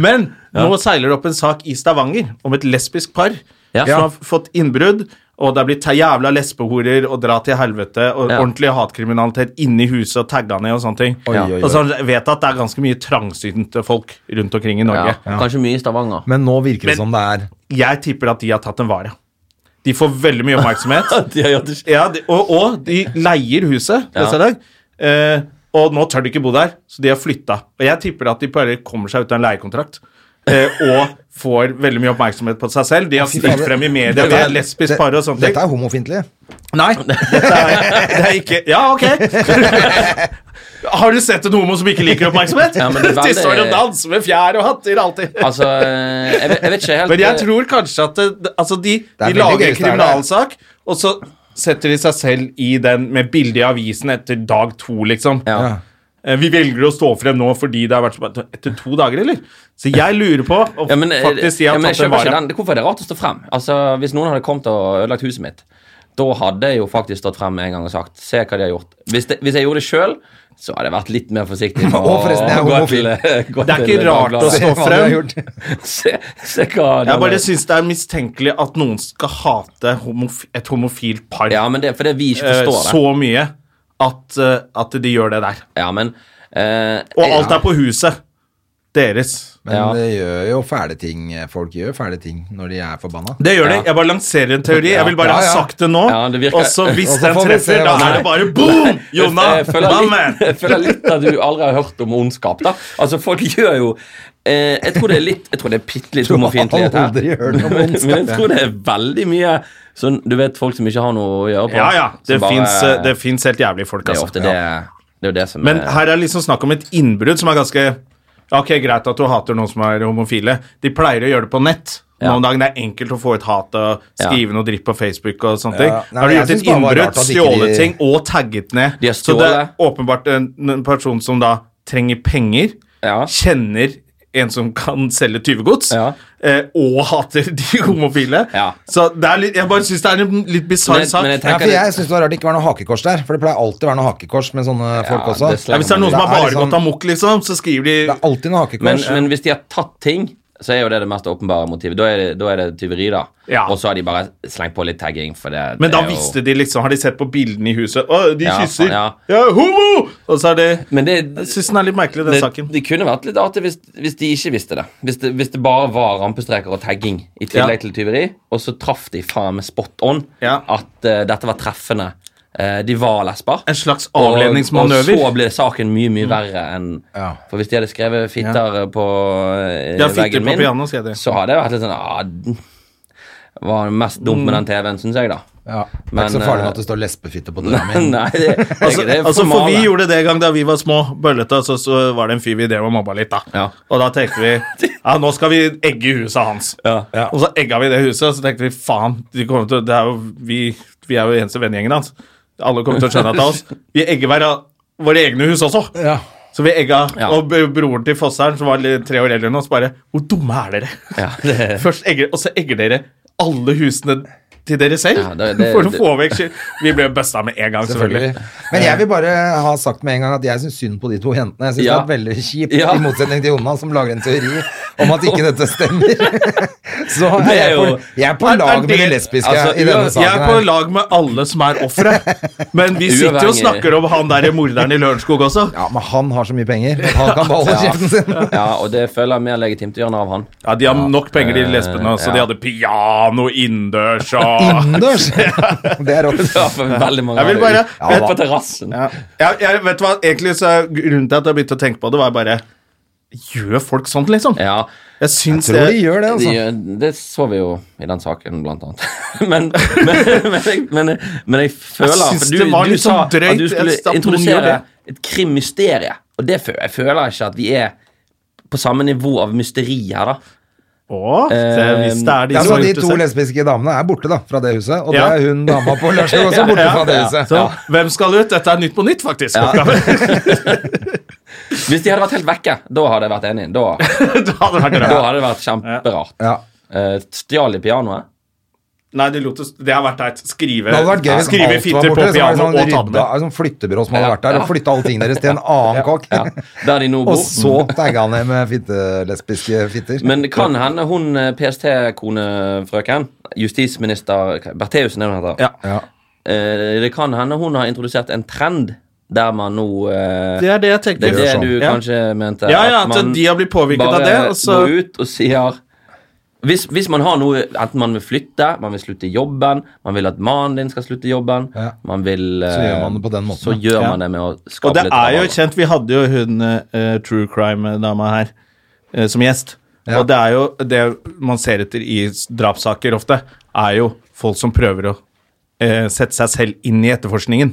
B: Men nå seiler det opp en sak i Stavanger om et lesbisk par
C: Ja.
B: som har fått innbrudd, og det er blitt ta jævla lesbehorer og dra til helvete og
C: Ja.
B: ordentlig hatkriminalitet inni huset og tagga ned og sånne ting.
A: Oi, oi, oi.
B: Og så vet jeg at det er ganske mye trangsynte folk rundt omkring i Norge.
C: Kanskje mye i Stavanger.
A: Men nå virker det som
B: Men-
A: det er
B: Jeg tipper at de har tatt en vare. De får veldig mye oppmerksomhet.
C: De har gjort det-
B: Ja, de, og, og de leier huset disse
C: Ja.
B: dag. Eh, og nå tør de ikke bo der, så de har flytta. Og jeg tipper at de bare kommer seg ut av en leiekontrakt. Eh, og får veldig mye oppmerksomhet på seg selv. De har stilt
A: fader.
B: frem i media, de er lesbisk par og sånne
A: Dette
B: ting.
A: er homofintlig.
B: Nei, dette er, det er ikke Ja, ok! Har du sett en homo som ikke liker oppmerksomhet?
C: Ja, men det er
B: De
C: veldig-
B: står og danser med fjær og hatter alltid.
C: Altså, eh, jeg, vet- jeg vet ikke helt
B: Men jeg
C: eh,
B: tror kanskje at det, det- altså de,
A: er
B: de
A: veldig
B: lager
A: gøy
B: en
A: hvis det er det.
B: kriminalsak, og så setter de seg selv i den med bilde i avisen etter dag to, liksom.
C: ja.
A: Ja.
B: Eh, Vi velger å stå frem nå fordi det har vært så bare- Etter to dager, eller? Så jeg lurer på om
C: Ja, men, eh,
B: faktisk de har
C: ja, men jeg
B: tatt en
C: skjønner ikke
B: vare.
C: den. Hvorfor er det rart å stå frem? Altså, Hvis noen hadde kommet og ødelagt huset mitt, da hadde jeg jo faktisk stått frem en gang og sagt se hva de har gjort. Hvis, det, hvis jeg gjorde det sjøl, så hadde jeg vært litt mer forsiktig. med
A: Å, forresten, jeg er
C: å gå
A: homofil.
C: til, eh, gå
B: Det er
C: til
B: ikke rart å
C: Dagbladet.
B: stå
A: Hva de har
B: frem.
A: gjort.
C: se, se hva
B: Jeg
C: denne-
B: bare syns det er mistenkelig at noen skal hate homof et homofilt par
C: Ja, men det, for det vi ikke
B: eh,
C: forstår det.
B: så mye at, eh, at de gjør det der.
C: Ja, men eh,
B: Og alt er på huset deres.
A: Men
C: Ja.
A: det gjør jo fæle ting. Folk gjør fæle ting når de er forbanna.
B: Det gjør de.
C: Ja.
B: Jeg bare lanserer en teori. Jeg vil bare
A: Ja, ja.
B: ha sagt det nå.
C: Ja, det virker-
B: og så hvis
A: Og så
B: den
A: får vi se
B: treffer, da
A: hva
B: er
A: det
B: det bare boom! Jonna,
C: Jeg føler,
B: my man!
C: litt, jeg føler litt at du aldri har hørt om ondskap. da Altså Folk gjør jo eh, Jeg tror det er litt Jeg tror det er bitte litt homofientlighet her.
A: Aldri hørt om
C: Men men jeg
A: ondskap.
C: tror det er veldig mye sånn Du vet folk som ikke har noe å gjøre på.
B: Ja, ja. Det
C: som bare-
B: fins det fins helt jævlige folk,
C: det er
B: altså.
C: ofte det Det er jo det som
B: Men
C: er
B: her er liksom snakk om et innbrudd som er ganske Ok, greit at du hater noen som er homofile. De pleier å gjøre det på nett. Nå om dagen det er enkelt å få ut hat og skrive noe dritt på Facebook og sånne ting.
A: Ja. Nei,
B: har du
A: men
B: gjort
A: jeg
B: et
A: synes bare det var
B: innbrudd,
A: rart at ikke
B: stjålet
A: de-
B: ting og tagget ned.
C: De har
B: så det er
C: stjålet.
B: åpenbart en, en person som da trenger penger,
C: Ja.
B: kjenner en som kan selge tyvegods,
C: Ja.
B: eh, og hater de homofile.
C: Ja.
B: Så det er litt, jeg bare syns det er en litt bisarr
C: Men-
B: sak.
C: men jeg tenker-
A: Ja, for jeg syns det var rart det ikke var noe hakekors der, for det pleier alltid å være noe hakekors med sånne folk også.
C: det
B: ja, hvis det er noen som har
A: Det er
B: bare
A: liksom-
B: gått amok, liksom, så skriver de
A: Det er alltid noe
C: Men,
A: hakekors.
C: men hvis de har tatt ting, så er jo det det mest åpenbare motivet. Da er det, da er det tyveri, da.
B: Ja.
C: Og så har de bare slengt på litt tagging, for det
B: Men
C: det
B: da
C: er jo-
B: visste de liksom, har de sett på bildene i huset Å, de
C: Ja,
B: kysser!
C: faen, ja.
B: Jeg er homo! Og så er det
C: Men det,
B: Jeg syns den er litt merkelig, den
C: det,
B: saken.
C: det kunne vært litt artig hvis, hvis de ikke visste det. Hvis det, hvis det bare var rampestreker og tagging i tillegg
B: Ja.
C: til tyveri, og så traff de faen meg spot on
B: Ja.
C: at eh, dette var treffende. Eh, de var lesber.
B: En slags
C: Og-
B: avledningsmanøver. Mm.
C: Og så ble saken mye, mye verre enn
A: Ja.
C: For hvis de hadde skrevet 'fitter' på eh,
B: Ja, fitter
C: veggen
B: på
C: min,
B: piano, skrev de.
C: så hadde det vært litt sånn ah, d- Var mest dumt
B: Mm.
C: med den TV-en, syns jeg, da.
A: Ja, det er
C: Men,
A: ikke så farlig
C: eh,
A: med at det står lesbefitte på døra mi.
C: Nei, det, det, er
B: Altså,
C: ikke- det er
B: altså, for
C: formale.
B: vi gjorde det en gang da vi var små, bøllete, så, så var det en fyr vi drev og mobba litt, da.
C: Ja.
B: Og da tenkte vi ja, nå skal vi egge huset hans.
C: Ja. Ja.
B: Og så egga vi det huset, og så tenkte vi faen, de kommer til, å- det er jo, vi, vi er jo eneste vennegjengen hans. Alle kommer til å skjønne at det er oss. Vi egger hver av våre egne hus også.
A: Ja.
B: Så vi egga,
C: Ja.
B: og b- broren til Fosseren, som var litt tre år eldre enn oss, bare Hvor dumme er dere?
C: Ja, det-
B: Først egger, og så egger dere alle husene til dere selv?
C: Ja, det- det-
B: for å
C: det-
B: få vekk skyld. Vi ble busta med en gang, selvfølgelig.
A: Selvfølgelig. Men jeg vil bare ha sagt med en gang at jeg syns synd på de to jentene. Jeg syns
C: Ja.
A: det er veldig kjipt,
C: Ja.
A: i motsetning til Jonas som lager en teori om at ikke dette stemmer. Så er
C: Det er
A: jeg,
C: jo-
A: på, jeg er på
B: Er- er
A: lag med
B: det-
A: de lesbiske
C: altså,
A: i denne
C: uav-
A: saken
B: Jeg er på
A: her.
B: lag med alle som er ofre, men vi sitter jo og
C: Uavhengig.
B: snakker om han derre morderen i Lørenskog også.
A: Ja, men han har så mye penger. Han kan beholde kjeften sin.
C: Ja, og det føler jeg mer legitimt å gjøre noe av han.
B: Ja, De har nok penger, de lesbene, så de
C: ja.
B: hadde piano innendørs og
A: Innendørs! Det er rått.
C: Ja, for veldig mange
B: Jeg vil
C: har det
B: bare-
C: ut- ut på terrassen.
B: Ja. Jeg, jeg, vet du hva, egentlig så er Grunnen til at jeg begynte å tenke på det, var bare Gjør folk sånt, liksom?
C: Ja,
B: Jeg syns
A: Tror de
B: det
A: gjør det,
C: de, eh,
A: altså.
C: det så vi jo i den saken, blant annet. men, men, men, jeg- men, men jeg føler
B: Jeg syns
C: for
B: det var
C: du
B: litt
C: sa
B: sånn drøyt,
C: at du
B: jeg synes at noen gjør
C: skulle introdusere
B: det.
C: et krimmysterium. Og det føler jeg føler ikke at vi er på samme nivå av mysteri her, da.
B: Å,
A: Eh,
B: se, hvis det er de
A: Ja,
B: som
A: så
B: har
A: sånn De
B: gjort det
A: to
B: selv.
A: lesbiske damene er borte da, fra det huset, og
B: Ja.
A: da er hun dama på Lørenskog også borte fra det huset.
B: Så, Hvem skal ut? Dette er Nytt på Nytt, faktisk.
C: Hvis de hadde vært helt vekke, da hadde jeg vært enig. Da,
B: det hadde vært
C: da
B: rart.
C: hadde det vært kjemperart.
A: Ja.
C: Eh, Stjal de pianoet?
B: Nei, de lot det, det har vært teit. Skrive,
A: Det hadde vært gøy hvis
B: Eh, skrive
A: alt var
B: fitter
A: borte.
B: på
A: Liksom,
B: piano
A: sånn,
B: og ta det
A: rydda,
B: med.
A: sånn flyttebyrå som hadde
C: Ja,
A: vært der,
C: ja.
A: og flytta alle tingene deres til en annen kokk.
C: Ja, Der de nå
A: Og
C: bor.
A: så tagga han ned med fittelesbiske fitter.
C: Men det kan hende hun eh, PST-konefrøken, justisminister Bertheussen, er det hun heter.
B: Ja.
A: Ja.
C: Eh, det kan hende hun har introdusert en trend der man nå eh,
B: Det er det jeg
C: Det
B: tenker.
C: er det du
B: Ja.
C: kanskje mente.
B: Ja, ja, at
C: man
B: de har blitt påvirket av
C: bare
B: det, og så
C: går ut og sier hvis, hvis man har noe Enten man vil flytte, man vil slutte i jobben, man vil at mannen din skal slutte i jobben
A: Ja.
C: man vil, eh,
A: Så gjør man det på den måten,
C: Så
A: ja.
C: gjør
B: Ja.
C: man det med å skape
B: Og det
C: litt
B: er jo
C: rabalder.
B: kjent, vi hadde jo hun eh, true crime-dama her eh, som gjest. Og det er jo det man ser etter i s- drapssaker ofte, er jo folk som prøver å eh, sette seg selv inn i etterforskningen.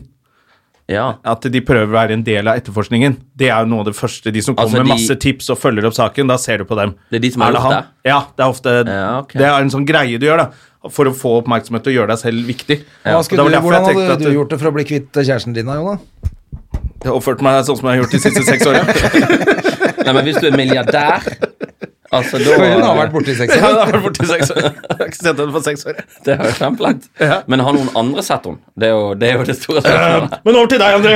C: ja.
B: At de prøver å være en del av etterforskningen. Det er jo noe av det første. De som kommer
C: Altså,
B: med
C: de-
B: masse tips og følger opp saken, da ser du på dem.
C: Det er de som har gjort
B: han?
C: det?
B: Ja, det er ofte
C: Ja, ok.
B: Det er en sånn greie du gjør, da. For å få oppmerksomhet og gjøre deg selv viktig.
A: Hva
B: Og det
A: skulle
B: var
A: du,
B: derfor
A: hvordan
B: jeg tenkte
A: hadde
B: at
A: du gjort det for å bli kvitt eh, kjæresten din, da, Jona?
B: Jeg har oppført meg sånn som jeg har gjort de siste seks årene.
C: Nei, men hvis du er milliardær Altså, da
A: For hun har vært borte i seks
B: Jeg
A: år.
B: har vært borte i seks år. Jeg har ikke sett henne på seks år.
C: Det er jo kjempelangt. Men har noen andre sett henne? Det er jo det, er jo det store spørsmålet.
B: Men over til deg, André.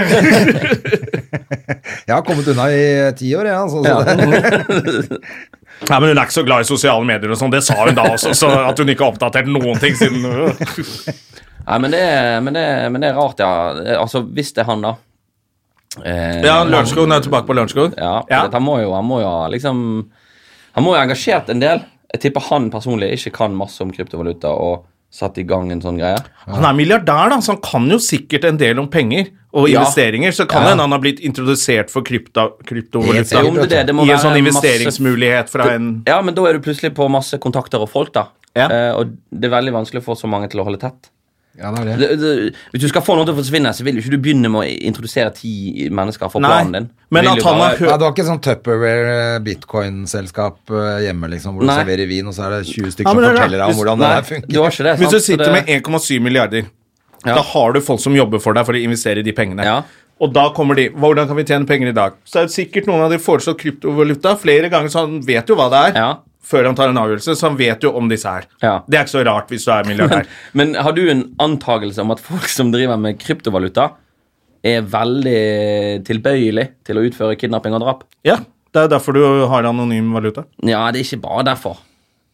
A: Jeg har kommet unna i ti år, jeg. Altså, så det-
B: Nei, men Hun er ikke så glad i sosiale medier, og sånn, det sa hun da også. Så at hun ikke har oppdatert noen ting siden
C: Nei, men det, er, men, det er, men det er rart, ja. Altså, hvis det er han, da. Eh,
B: Ja, Lørenskog. Nå er jeg tilbake på Lørenskog.
C: Ja, for
B: Ja.
C: dette- Han må jo han må jo ha liksom Han må jo ha engasjert en del. Jeg tipper han personlig ikke kan masse om kryptovaluta og satt i gang en sånn greie.
B: Han er milliardær, da, så han kan jo sikkert en del om penger og
C: Ja.
B: investeringer. Så kan
C: Ja.
B: det hende han har blitt introdusert for krypta,
A: Helt
B: kryptovaluta
A: sikkert.
C: Jo, men det, er det, det må
B: i en
C: være
B: sånn
C: masse-
B: investeringsmulighet fra en
C: Ja, men da er du plutselig på masse kontakter og folk, da.
B: Ja.
C: Eh, og det er veldig vanskelig å få så mange til å holde tett.
A: Ja, det er det.
C: Det, det, hvis du skal få noe til å forsvinne, så vil jo ikke du begynne med å introdusere ti mennesker for
B: Nei,
C: planen din. Du
B: men
C: vil
B: at
C: jo
B: han har
C: bare-
B: hørt-
A: Nei, det var ikke sånn Tupperware-bitcoin-selskap eh, hjemme, liksom, hvor du
C: Nei.
A: serverer vin, og så er det 20 stykker
B: Ja,
A: som
B: men det er det.
A: forteller deg om
B: Hvis-
A: hvordan det
C: Nei,
A: her funker.
C: du har ikke
B: Hvis
C: det. sant?
B: du sitter
C: Så det-
B: med 1,7 milliarder, da har du folk som jobber for deg for å investere de pengene.
C: Ja.
B: Og da kommer de. Hvordan kan vi tjene penger i dag? Så er det sikkert noen av de foreslått kryptovaluta flere ganger, så han vet jo hva det er.
C: Ja.
B: Før han tar en avgjørelse, så han vet jo om disse her.
C: Ja.
B: Det er ikke så rart hvis du er milliardær.
C: Men har du en antakelse om at folk som driver med kryptovaluta, er veldig tilbøyelig til å utføre kidnapping og drap?
B: ja, det er derfor du har anonym valuta.
C: Ja, det er ikke bare derfor.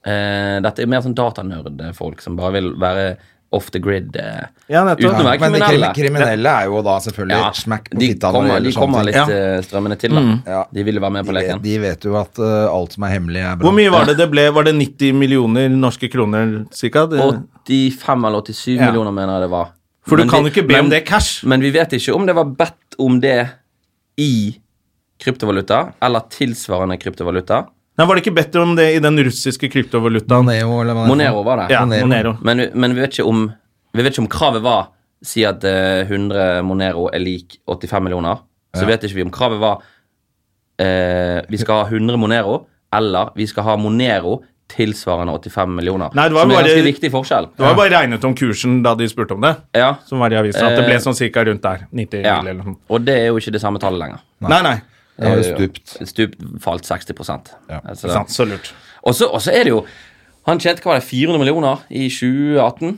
C: Eh, dette er mer sånn datanerdfolk som bare vil være off the grid. eh.
B: Ja, nettopp.
C: Uten å
A: Ja,
C: være
A: men de
C: kriminelle.
A: krim- kriminelle er jo da selvfølgelig
C: Ja,
A: smack på
C: de
A: fitta når det
C: kommer, de
A: gjelder sånne
C: kommer
A: ting.
C: litt
B: Ja.
C: eh, strømmende til, da.
A: Ja.
C: De vil jo være med på
A: De vet,
C: leken.
A: de vet jo at eh, alt som er hemmelig, er bra.
B: Hvor mye var det det ble? Var det 90 millioner norske kroner, cirka? Det,
C: 85 eller 87
B: Ja.
C: millioner, mener jeg det var.
B: for du
C: Men
B: kan
C: vi-
B: jo ikke be
C: men-
B: om det cash.
C: Men vi vet ikke om det var bedt om det i kryptovaluta, eller tilsvarende kryptovaluta.
B: Nei, var det ikke bedt om det i den russiske kryptovalutaen?
A: Monero, eller hva det er for noe?
C: Monero var det.
B: Ja,
A: Monero.
B: Monero.
C: Men, vi- men vi, vet ikke om, vi vet ikke om kravet var Si at eh, 100 Monero er lik 85 millioner. Så vet ikke vi om kravet var eh, vi skal ha 100 Monero, eller vi skal ha Monero tilsvarende 85 millioner.
B: Nei, det var
C: som er en
B: bare-
C: ganske viktig forskjell.
B: Det var bare regnet om kursen da de spurte om det.
C: Ja,
B: Som var i avisen, at det ble
C: Eh,
B: sånn cirka rundt der. 90
C: ja.
B: eller liksom. noe sånt.
C: Og det er jo ikke det samme tallet lenger.
B: Nei, nei.
A: Det har jo stupt.
C: Stup falt 60 altså,
B: Ikke sant, så lurt.
C: Og så, og så er det jo Han tjente hva var det, 400 millioner i 2018.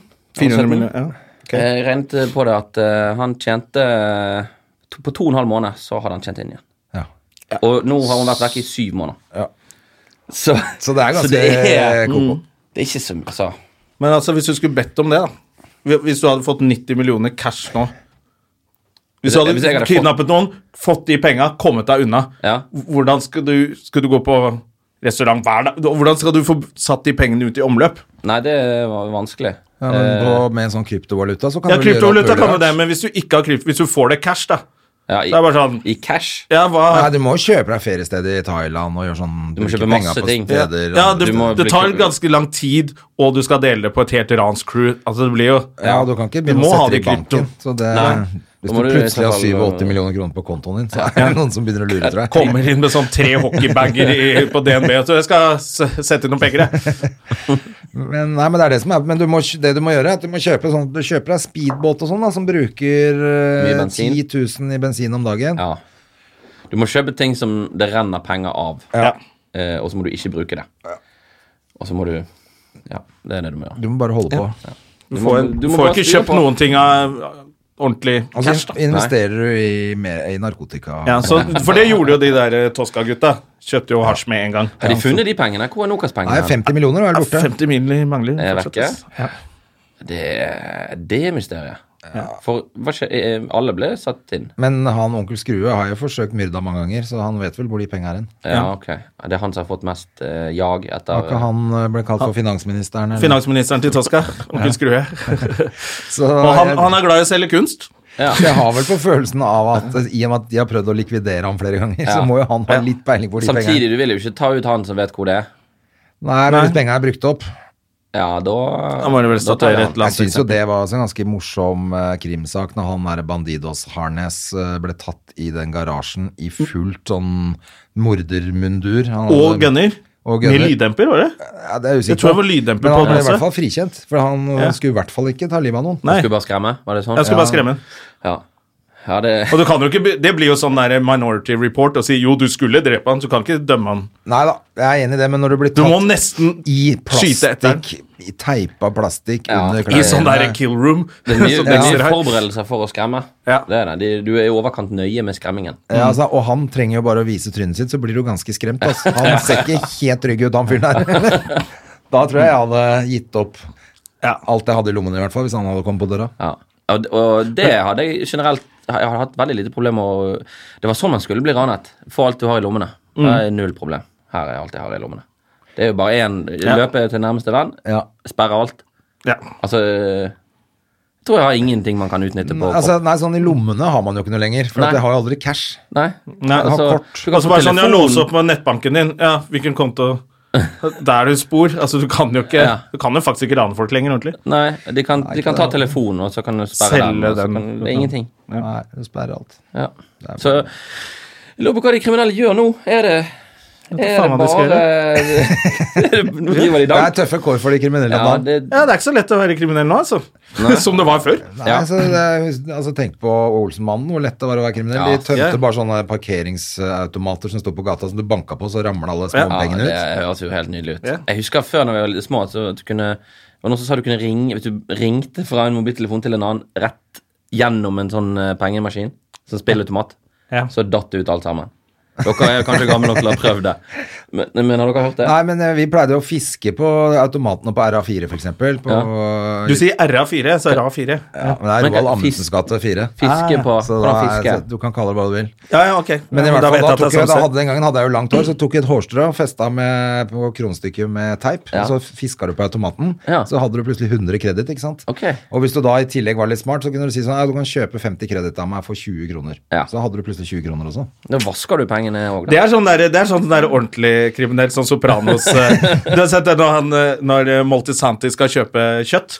B: 400
C: 17.
B: millioner, ja. Ok.
C: Jeg Eh, regnet på det at eh, han tjente eh, to, På to og en halv måned så hadde han tjent inn igjen.
A: Ja.
C: Og nå har hun vært vekke i syv måneder.
A: Ja.
C: Så,
A: Så det er ganske
C: er- Mm.
A: koko.
C: det er ikke så altså.
B: Men altså, hvis du skulle bedt om det, da. Hvis- Hvis du hadde fått 90 millioner cash nå Hvis du hadde
C: Hvis jeg hadde fått-
B: kidnappet noen, fått de penga, kommet deg unna,
C: Ja.
B: hvordan skal du, skal du gå på restaurant hver dag? Hvordan skal du få satt de pengene ut i omløp?
C: Nei, det var vanskelig.
A: Ja, men
C: Eh.
A: på, med en sånn kryptovaluta så kan
B: Ja,
A: du gjøre alt
B: kryptovaluta
A: mulig
B: kan jo
A: rart.
B: det, men hvis du ikke har krypto, hvis du får det cash, da
C: Ja, i,
B: Det er bare sånn-
C: I cash.
B: Ja,
A: Nei,
B: hva
A: du må jo kjøpe deg feriested i Thailand og gjøre sånn
C: Du må
A: bruke
C: kjøpe
A: penger
C: masse
A: på
C: ting.
A: steder og-
B: ja,
C: Du må
B: det, det
C: bli-
B: tar ganske lang tid, og du skal dele det på et helt ranscrew. Altså, det blir jo
A: Ja, du kan ikke
B: Du
A: begynne å
B: må ha
A: sette det i
B: det i krypto.
A: banken. Så det,
C: Nei.
A: Hvis du
C: Da må du i
A: plutselig
C: så
A: har
C: fall-
A: 87 millioner kroner på kontoen din, så er det noen som begynner å lure, tror jeg.
B: Kommer inn med sånn tre hockeybager i- på DNB og så jeg skal s- sette inn noen penger. jeg.
A: Men, nei, men det er det som er Men du må, det du må gjøre, er at du må kjøpe sånn Du kjøper deg speedbåt og sånn, da, som bruker
C: Mye
A: eh,
C: bensin.
A: 10 000 i bensin om dagen.
C: Ja. Du må kjøpe ting som det renner penger av,
B: Ja.
C: eh, og så må du ikke bruke det. Og så må du Ja, det er det du må gjøre.
A: Du må bare holde på.
B: Du
C: må-
B: får,
C: du må
B: får
C: bare
B: ikke
C: styre
B: kjøpt
C: på.
B: noen ting av ordentlig
A: Og
B: cash,
A: så
B: da.
A: Altså, investerer du i, mer, i narkotika.
B: Ja, så, for det gjorde jo de der eh, Toska-gutta. Kjøpte jo hasj med en gang.
C: Har de funnet de pengene? Hvor er
A: Nei,
C: Nokas-pengene?
A: 50 millioner er
B: Ja,
A: det borte.
B: 50 mil mangler.
C: Er
B: fortsatt,
C: vekke?
B: ass. Ja.
C: Det, er- det er mysteriet. For hva skje, eh, alle ble satt inn.
A: Men han onkel Skrue har jo forsøkt myrda mange ganger, så han vet vel hvor de penga er hen.
C: Ja, ok. Det er han som har fått mest eh, jag
A: Var
C: etter
A: ikke han eh, ble kalt for finansministeren? eller?
B: Finansministeren til Toska. Onkel Skrue.
A: Så
B: Og han,
A: jeg-
B: han er glad i å selge kunst.
A: jeg har vel på følelsen av at i og med at de har prøvd å likvidere ham flere ganger, så
C: Ja.
A: må jo han ha litt peiling på hvor de penga er.
C: Samtidig, du vil jo ikke ta ut han som vet hvor det er.
A: Nei, men hvis penga er brukt opp
C: Ja, da
B: Da må det vel
C: da tar jeg
B: statere
C: han.
B: et eller
A: Jeg syns
B: annet.
A: jo det var også en ganske morsom eh, krimsak når han der Bandidos Harnes eh, ble tatt i den garasjen i fullt sånn mordermundur. Han
B: Og
A: hadde-
B: gunner.
A: Og
B: Med
A: gunner.
B: lyddemper, var det?
A: Ja, det er jeg usikker
B: Jeg tror jeg
A: på.
B: var lyddemper
A: Men
B: på
A: han ble i
B: den også.
A: hvert fall frikjent, for han
B: Ja.
A: skulle i hvert fall ikke ta livet av noen.
B: Nei.
C: Skulle bare skremme? Var det sånn?
B: Jeg skulle bare skremme den.
C: Ja. ja, det
B: Og du kan jo ikke, be- Det blir jo sånn der minority report å si jo, du skulle drepe han, så du kan ikke dømme han.
A: Nei da, jeg er enig i det, men når du blir
B: Du
A: tatt
B: må nesten
A: i
B: skyte etter
A: plastikk, i teipa plastikk
C: Ja.
A: under
B: I sånn der
A: klærne.
B: kill room.
C: Det er mye,
B: som
C: det er
B: dere
C: mye
B: har.
C: forberedelser for å skremme.
B: Ja.
C: Det er det. De, du er i overkant nøye med skremmingen.
A: Ja, altså, og han trenger jo bare å vise trynet sitt, så blir du ganske skremt. Altså. Han ser ikke helt trygg ut, han fyren der. da tror jeg jeg hadde gitt opp
B: Ja.
A: alt jeg hadde i lommene, i hvert fall, hvis han hadde kommet på døra.
C: Ja. Og, og det hadde jeg generelt Jeg har hatt veldig lite problem med å Det var sånn man skulle bli ranet. Få alt du har i lommene. Det er null problem. Her er alt jeg har i lommene. Det er jo bare én løpe til nærmeste venn,
A: Ja.
C: sperre alt.
B: Ja.
C: Altså Jeg tror jeg har ingenting man kan utnytte på
A: Altså, nei, sånn I lommene har man jo ikke noe lenger, for
C: Nei.
A: at jeg har jo aldri cash.
C: Nei.
B: Nei,
A: Jeg har
C: Altså,
A: kort.
C: du
B: Og så
C: kan få
B: bare sånn, ja,
C: telefonen.
B: låse opp med nettbanken din. Ja, hvilken konto? Da er du spor. Altså, du kan jo ikke
C: Ja.
B: Du kan jo faktisk ikke rane folk lenger ordentlig.
C: Nei, de kan, de kan ta telefonen, og så kan du sperre
B: Selge
C: den. Og så
B: den.
C: kan, det er ingenting.
A: Nei, det sperrer alt.
C: Ja. Så jeg lurer på hva de kriminelle gjør nå. Er det, er
B: faen
C: det
B: hva de skal
C: Eh, bare er det- Nå driver de
A: Det er
C: dank.
A: tøffe kår for de kriminelle
C: Ja,
A: om dagen.
C: det,
B: Ja, det er ikke så lett å være kriminell nå, altså. Som det var før.
A: Nei,
C: ja.
A: altså, det er, altså, tenk på Olsenmannen, hvor lett det var å være kriminell. de
C: Ja.
A: tømte
B: Ja.
A: bare sånne parkeringsautomater som sto på gata, som du banka på, så ramla alle
B: Ja.
C: ja,
A: småpengene
C: det
A: ut.
C: høres jo helt nydelig ut.
B: Ja.
C: Jeg husker før når vi var små, at du kunne det var noen som sa du kunne ringe Hvis du ringte fra en mobiltelefon til en annen rett gjennom en sånn eh, pengemaskin, sånn spillautomat,
B: Ja.
C: så datt det ut alt sammen. Dere er kanskje gamle nok til å ha prøvd det, men, men har dere hørt det?
A: Nei, men eh, vi pleide å fiske på automatene på RA4, for eksempel. På, ja.
B: Du sier RA4, så RA4.
A: men det er
C: Men
A: Roald
C: kan-
A: Amundsens gate 4.
C: Fiske på
A: Så da,
C: Hvordan
A: er-
C: fiske?
A: så du kan kalle det hva du vil.
B: Ja, ja, ok.
A: Men i hvert
B: Da
A: fall,
B: vet
A: da,
B: jeg at det er
A: tok jeg, da
B: sånn
A: hadde, den gangen hadde jeg jo langt hår, så tok jeg et hårstrå og festa med, på kronestykket med teip.
C: Ja.
A: Og så fiska du på automaten,
C: Ja.
A: så hadde du plutselig 100 kreditt. ikke sant?
C: Ok.
A: Og hvis du da i tillegg var litt smart, så kunne du si sånn ja, du kan kjøpe 50 kreditt av meg for 20 kroner.
C: Ja.
A: Så hadde du plutselig 20 kroner også.
C: Da vasker du pengene òg,
B: Det
C: da.
B: er sånn, der, det er sånn der ordentlig kriminell, sånn Sopranos. eh, du har sett det når, han, eh, når eh, Moltisanti skal kjøpe kjøtt,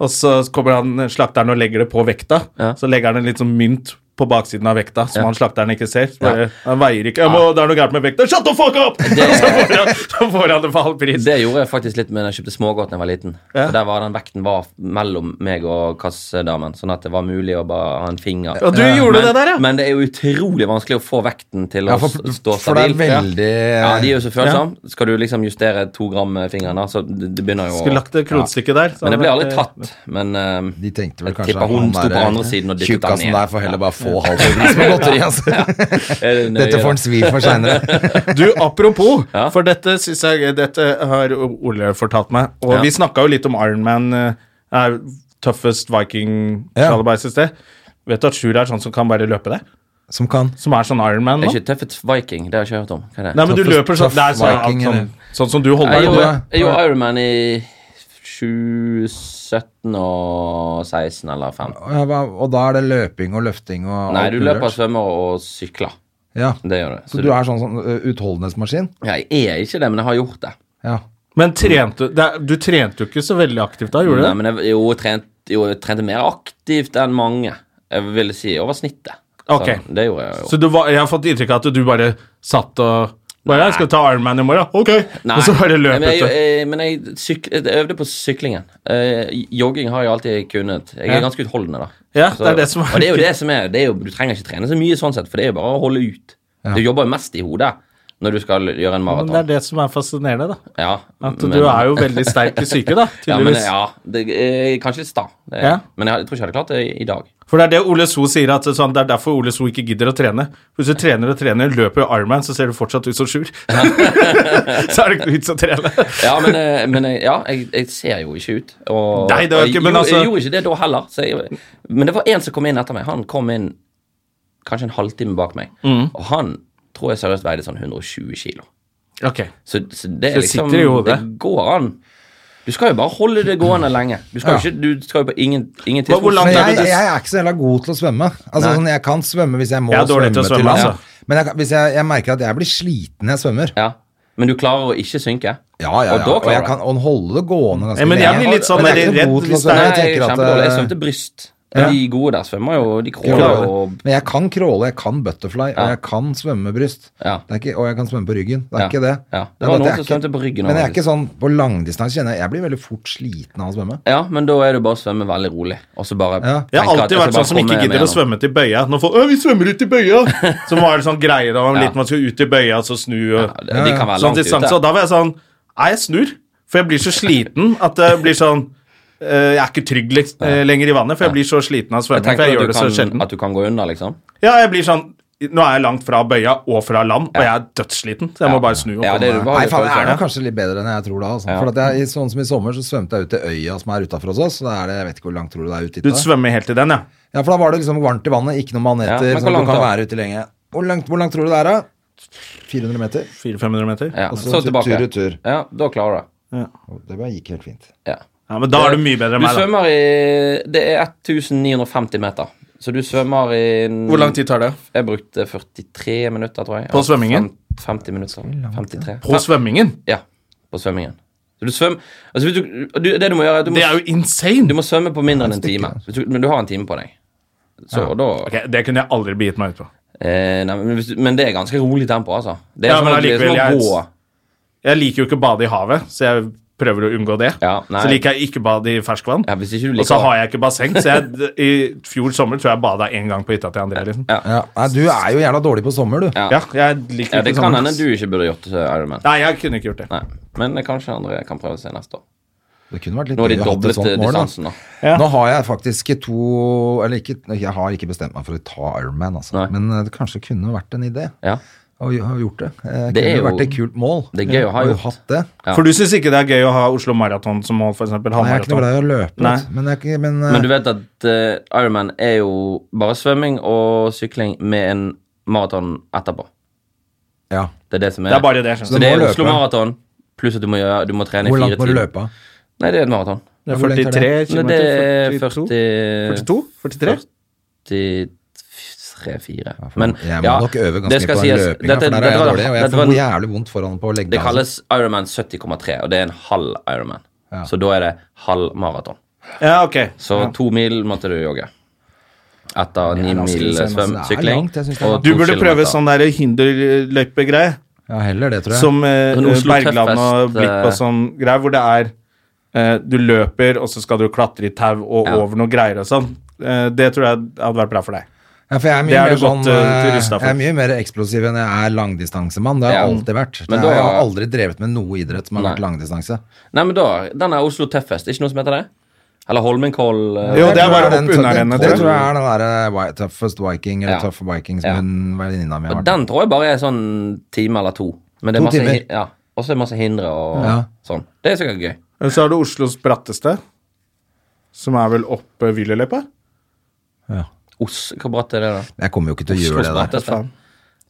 B: og så kommer han eh, slakteren og legger det på vekta.
C: Ja.
B: Så legger han en litt sånn mynt på baksiden av vekta, som
C: Ja.
B: han slakteren ikke ser. Så
C: Ja. Ah.
B: Bare, Han veier ikke. «Jeg Må, 'Det er noe gærent med vekta.' 'Shut the fuck up!' Og så, får han, så får han det for halv pris.
C: Det gjorde jeg faktisk litt med da jeg kjøpte smågodt da jeg var liten.
B: Ja.
C: For der var den vekten var mellom meg og kassedamen, sånn at det var mulig å bare ha en finger.
B: Og du gjorde
C: men,
B: det der, ja.
C: Men det er jo utrolig vanskelig å få vekten til
A: Ja,
C: å
A: for,
C: s- stå
A: for det er
C: stabil.
A: veldig
C: Ja, de er jo så følsomme. Skal du liksom justere to gram med fingeren, da, så det, det begynner jo
B: Skulle
C: å
B: lagt det kronestykket der. så
C: Men det ble
B: hadde vært,
C: aldri
B: eh,
C: tatt. Men eh,
A: De tenkte vel
C: Jeg
A: kanskje
C: tipper hun sto
A: der,
C: på andre siden og dyttet han
A: tjukkasen
C: ned.
A: der får heller bare få halvprisen på godteri, altså.
C: er det nøye,
A: Dette får
C: da?
A: han svi for seinere.
B: Du, apropos,
C: Ja.
B: for dette synes jeg Dette har Ole fortalt meg. Og
C: Ja.
B: vi snakka jo litt om Ironman, er tøffest viking
A: Ja.
B: slalåmbeis i sted. Vet du at Sjur er sånn som kan bare løpe det?
A: Som kan.
B: Som er sånn Ironman
C: det
B: nå?
C: er ikke Tøffet Viking, det har jeg ikke hørt om. Hva er det?
B: Nei, men du
A: Tøffest-
B: løper sånn Det er sånn,
A: tøff viking,
B: sånn,
A: eller?
B: sånn som du
C: Jeg
B: holder
C: gjorde,
B: på.
C: jeg gjorde Ironman i 2017 og 16 eller 15.
A: Og jeg bare- Og da er det løping og løfting og
C: Nei,
A: alt
C: du
A: mulig
C: løper,
A: rart.
C: svømmer og sykler.
A: Ja.
C: Det gjør du.
A: Så du er sånn, sånn ø, utholdenhetsmaskin?
C: Jeg er ikke det, men jeg har gjort det.
A: Ja.
B: Men trente, det er, du trente jo ikke så veldig aktivt da, gjorde du
C: Nei,
B: det?
C: men jeg, jo, jeg trente, jo, jeg trente mer aktivt enn mange. Jeg ville si over snittet. Så
B: Ok.
C: det gjorde jeg jo.
B: Så du var, jeg har fått inntrykk av at du bare satt og bare, jeg skal ta Ironman i morgen, ok!
C: Nei,
B: Og så bare løp
C: men jeg,
B: ut.
C: jeg, men jeg, syk, jeg øvde på syklingen. Eh, jogging har jeg alltid kunnet. Jeg er
B: Ja.
C: ganske utholdende, da.
B: Ja, det er det som er-
C: og det er jo det som er, det er jo, Du trenger ikke trene så mye sånn sett, for det er jo bare å holde ut. Du jobber jo mest i hodet når du skal gjøre en
B: Men det
C: maraton.
B: er det som er fascinerende, da.
C: Ja,
B: At du er jo veldig sterk i psyke, da,
C: ja, men,
B: tydeligvis.
C: ja, det, eh, Kanskje litt sta, det,
B: Ja.
C: men jeg, jeg tror ikke jeg hadde klart det i- i dag.
B: For det er det Ole So sier, at sånn, det er derfor Ole So ikke gidder å trene. Hvis du trener og trener, løper Ironman, så ser du fortsatt ut som Sjur. så er det ikke noe vits å trene.
C: Ja, men, eh, men jeg- ja, jeg, jeg ser jo ikke ut. Og,
B: Nei, det er jo ikke-
C: og jeg,
B: men
C: gjorde-
B: altså-
C: jeg gjorde ikke det da heller. Så jeg, men det var en som kom inn etter meg. Han kom inn kanskje en halvtime bak meg.
B: Mm.
C: Og han tror jeg seriøst veide sånn 120 kilo.
B: Ok.
C: Så,
B: Så
C: så det er
B: det
C: liksom
B: sitter i hodet. Mm.
C: Det går an. Du skal jo bare holde det gående lenge. Du skal jo ikke du skal jo på ingen, ingen
B: Hvor- hvor langt
A: Men
B: er
A: jeg,
B: det du-
A: jeg er ikke så heller god til å svømme. Altså sånn, Jeg kan svømme hvis jeg må
B: Jeg er
A: svømme,
B: dårlig til å svømme,
A: til land.
B: altså.
A: Men jeg, kan- hvis jeg, jeg merker at jeg blir sliten når jeg svømmer.
C: Ja. Men du klarer å ikke synke?
A: Ja, ja, ja.
C: Og da
A: Og, jeg
C: klarer
A: kan og holde det gående ganske
B: Ja, men jeg blir litt sånn
A: Men jeg er ikke
B: redd
A: god til å
B: hvis det
A: svømme.
B: er-
A: Jeg tenker at,
C: kjempedårlig. Jeg
A: eh,
C: svømte bryst. Men De gode der svømmer jo De
A: crawle.
C: kråler og
A: Men jeg kan crawle, jeg kan butterfly,
C: Ja.
A: og jeg kan svømme med bryst.
C: Ja.
A: Det er ikke, og jeg kan svømme på ryggen. Det er
C: Ja.
A: ikke det.
C: Ja.
A: er
C: Det var
A: bare at jeg
C: noen som
A: er ikke-
C: svømte på ryggen
A: Men jeg
C: også,
A: er ikke sånn på langdistanse, kjenner jeg. Jeg blir veldig fort sliten av å svømme.
C: Ja, men da er det bare å svømme veldig rolig. Og så bare
A: Ja.
B: Jeg har
C: tenke at
B: alltid
C: jeg
B: vært
C: skal bare
B: sånn som ikke
C: komme
B: gidder
C: meg
B: å svømme til bøya. Nå får, «Å, vi svømmer ut i bøya! Så var det sånn greie da man var
C: Ja.
B: liten, man skulle ut i bøya, så snu
C: gjennom.
B: og
C: Ja, de kan være
B: sånn
C: langt
B: distanse. Og
C: ute.
B: da var jeg sånn Nei, jeg snur, for jeg blir så sliten at det blir sånn eh, jeg er ikke trygg liks- eh, lenger i vannet, for jeg blir så sliten av å svømme.
C: Jeg tenker
B: For jeg gjør
C: at
B: det
C: du,
B: så
C: kan,
B: sjelden.
C: at du kan gå under, liksom.
B: Ja, jeg blir sånn Nå er jeg langt fra bøya og fra land, og jeg er dødssliten, så jeg må bare snu og
C: Ja,
B: komme
C: det er
B: meg.
C: du bare
A: Nei, faen, jeg er
C: følelser,
A: nok kanskje litt bedre enn jeg tror da. Altså. For at jeg, sånn som I sommer så svømte jeg ut til øya som er utafor hos oss. Så da er det, jeg vet ikke hvor langt tror du det er ut dit
B: Du
A: da?
B: svømmer helt til den, ja.
A: Ja, for da var det liksom varmt i vannet, ikke noen
C: Ja,
A: maneter,
C: men hvor
A: sånn at
C: langt
A: du kan
C: da?
A: være ute lenge. Hvor langt, hvor langt tror du det er da? 400 meter?
B: 400-500 meter.
C: ja.
A: Og Altså, så
C: Så
A: tur-
C: tilbake.
A: tur i tur.
C: Ja, da klarer du det.
A: Å, Det bare gikk helt fint.
C: Ja.
B: Ja, Men da er du mye bedre enn
C: Du
B: meg, da.
C: svømmer i Det er 1950 meter. Så du svømmer i en-
B: Hvor lang tid tar det?
C: Jeg brukte 43 minutter, tror jeg.
B: På svømmingen?
C: Fem- 50 minutter. 53.
B: På svømmingen?
C: Ja. på svømmingen. Så du svøm, altså hvis du, du, det du må gjøre, er at du må,
B: Det er jo insane!
C: du må svømme på mindre enn en time. Hvis du, men du har en time på deg. Så da
B: Ok, det kunne jeg aldri begitt meg ut på.
C: eh, nei, men, hvis, du- men det er ganske rolig tempo, altså. Det er
B: Ja,
C: som
B: men
C: å- det er som
B: allikevel, jeg-
C: å gå.
B: Jeg liker jo ikke å bade i havet, så jeg prøver å unngå det.
C: Ja, nei.
B: så liker jeg ikke å bade i ferskvann.
C: Ja, hvis ikke du
B: og så
C: liker-
B: har jeg ikke basseng, så jeg, i fjor sommer tror jeg bada én gang på hytta til André. liksom.
C: Ja.
A: Ja, nei, du er jo jævla dårlig på sommer, du.
C: Ja.
B: Ja, jeg liker
C: Ja, det
B: ikke
C: kan
B: sommer.
C: hende du ikke burde gjort eh, Ironman.
B: Nei, jeg kunne ikke gjort det.
C: Nei. Men eh, kanskje andre kan prøve seg neste år.
A: Det kunne vært litt
C: Nå har de
A: gøy å ha et
C: doblet
B: sånn
A: sånt
C: eh,
A: mål, da.
C: distansen, da.
B: Ja.
A: Nå har jeg faktisk to Eller ikke, jeg har ikke bestemt meg for å ta Ironman, altså.
C: Nei.
A: Men eh, det kanskje kunne vært en idé
C: Ja.
A: å gj- ha gjort det. Eh,
C: Det
A: kunne
C: er jo-
A: vært et kult mål.
C: Det er gøy å ha gjort.
A: hatt det.
C: Ja.
B: For du syns ikke det er gøy å ha Oslo Maraton som mål, f.eks.?
A: Nei, jeg er ikke noe glad i å løpe,
B: Nei.
A: vet du. men, jeg, er ikke- men, eh,
C: Men du vet at eh, Ironman er jo bare svømming og sykling med en maraton etterpå.
A: eh, ja.
C: Det er det som er.
B: Det er bare det. skjønner
C: Så
B: du.
C: det
A: må
C: er
A: løpe.
C: Oslo Maraton, pluss at du må, gjøre, du må trene
A: Hvor
C: i
A: langt
C: fire
A: må du
C: timer.
A: løpe? av?
C: Nei, det er et maraton.
B: Det er
A: Hvor lenge tar det?
B: 43
C: Men
B: km.
C: det er 40
B: 42? 43?
C: 43-4.
A: Men, jeg må nok øve ganske
C: det skal
A: på den
C: sies,
A: løpinga,
C: dette-
A: for der er
C: dette
A: jeg
C: var-
A: dårlig. Og jeg
C: dette
A: får
C: var-
A: jævlig vondt foran på altså. å legge
C: Det
A: av.
C: kalles Ironman 70,3, og det er en halv Ironman. Så da er det halv maraton.
B: Ja, ok.
C: Så to mil måtte du jogge. Etter ni
A: ganske
C: mil
A: insane,
C: svøm,
A: altså. Det er
C: sykling.
A: langt, jeg synes det er
C: og
A: langt.
B: Du
C: to
B: burde prøve
C: kilometer.
B: sånn der hinderløypegreie.
A: Ja, heller det, tror jeg.
B: Som eh,
C: Sånn Oslo
B: Bergland og
C: Tøffest,
B: Blikk og
C: eh,
B: sånn greier, hvor det er eh, Du løper, og så skal du klatre i tau og
C: Ja.
B: over noen greier og sånn. Eh, det tror jeg hadde vært bra for deg.
A: Ja, for jeg er
B: Det
A: mye,
B: er
A: mer,
B: du godt,
A: sånn,
B: eh,
A: eh,
B: rustet for.
A: jeg er mye mer eksplosiv enn jeg er langdistansemann. Det har jeg
C: Ja.
A: alltid vært.
C: Men
A: jeg
C: da-
A: har aldri drevet med noe idrett som har
C: Nei.
A: vært langdistanse.
C: Nei, men da, den er Oslo Tøffest. Ikke noe som heter det? Eller Holmenkollen? eh,
B: Jo, det
A: tror
B: er bare
A: jeg den-
B: opp under
A: den-
B: henne,
A: Det
B: tror jeg.
A: tror jeg er den derre wi- Toughest Viking eller
C: Ja.
A: Tough Viking som
C: Ja.
A: hun venninna mi har
C: Og
A: vært.
C: den tror jeg bare er sånn time eller to. Men det
A: To
C: er masse,
A: timer.
C: hi- Ja, og så er det masse hindre og
A: Ja.
C: sånn. Det er sikkert gøy.
B: Eh, Så har du Oslos bratteste, som er vel oppe Wyllerløypa?
A: Ja.
C: Os, hvor bratt er det, da?
A: Jeg kommer jo ikke til å
C: Oslos
A: gjøre det der.
C: bratteste.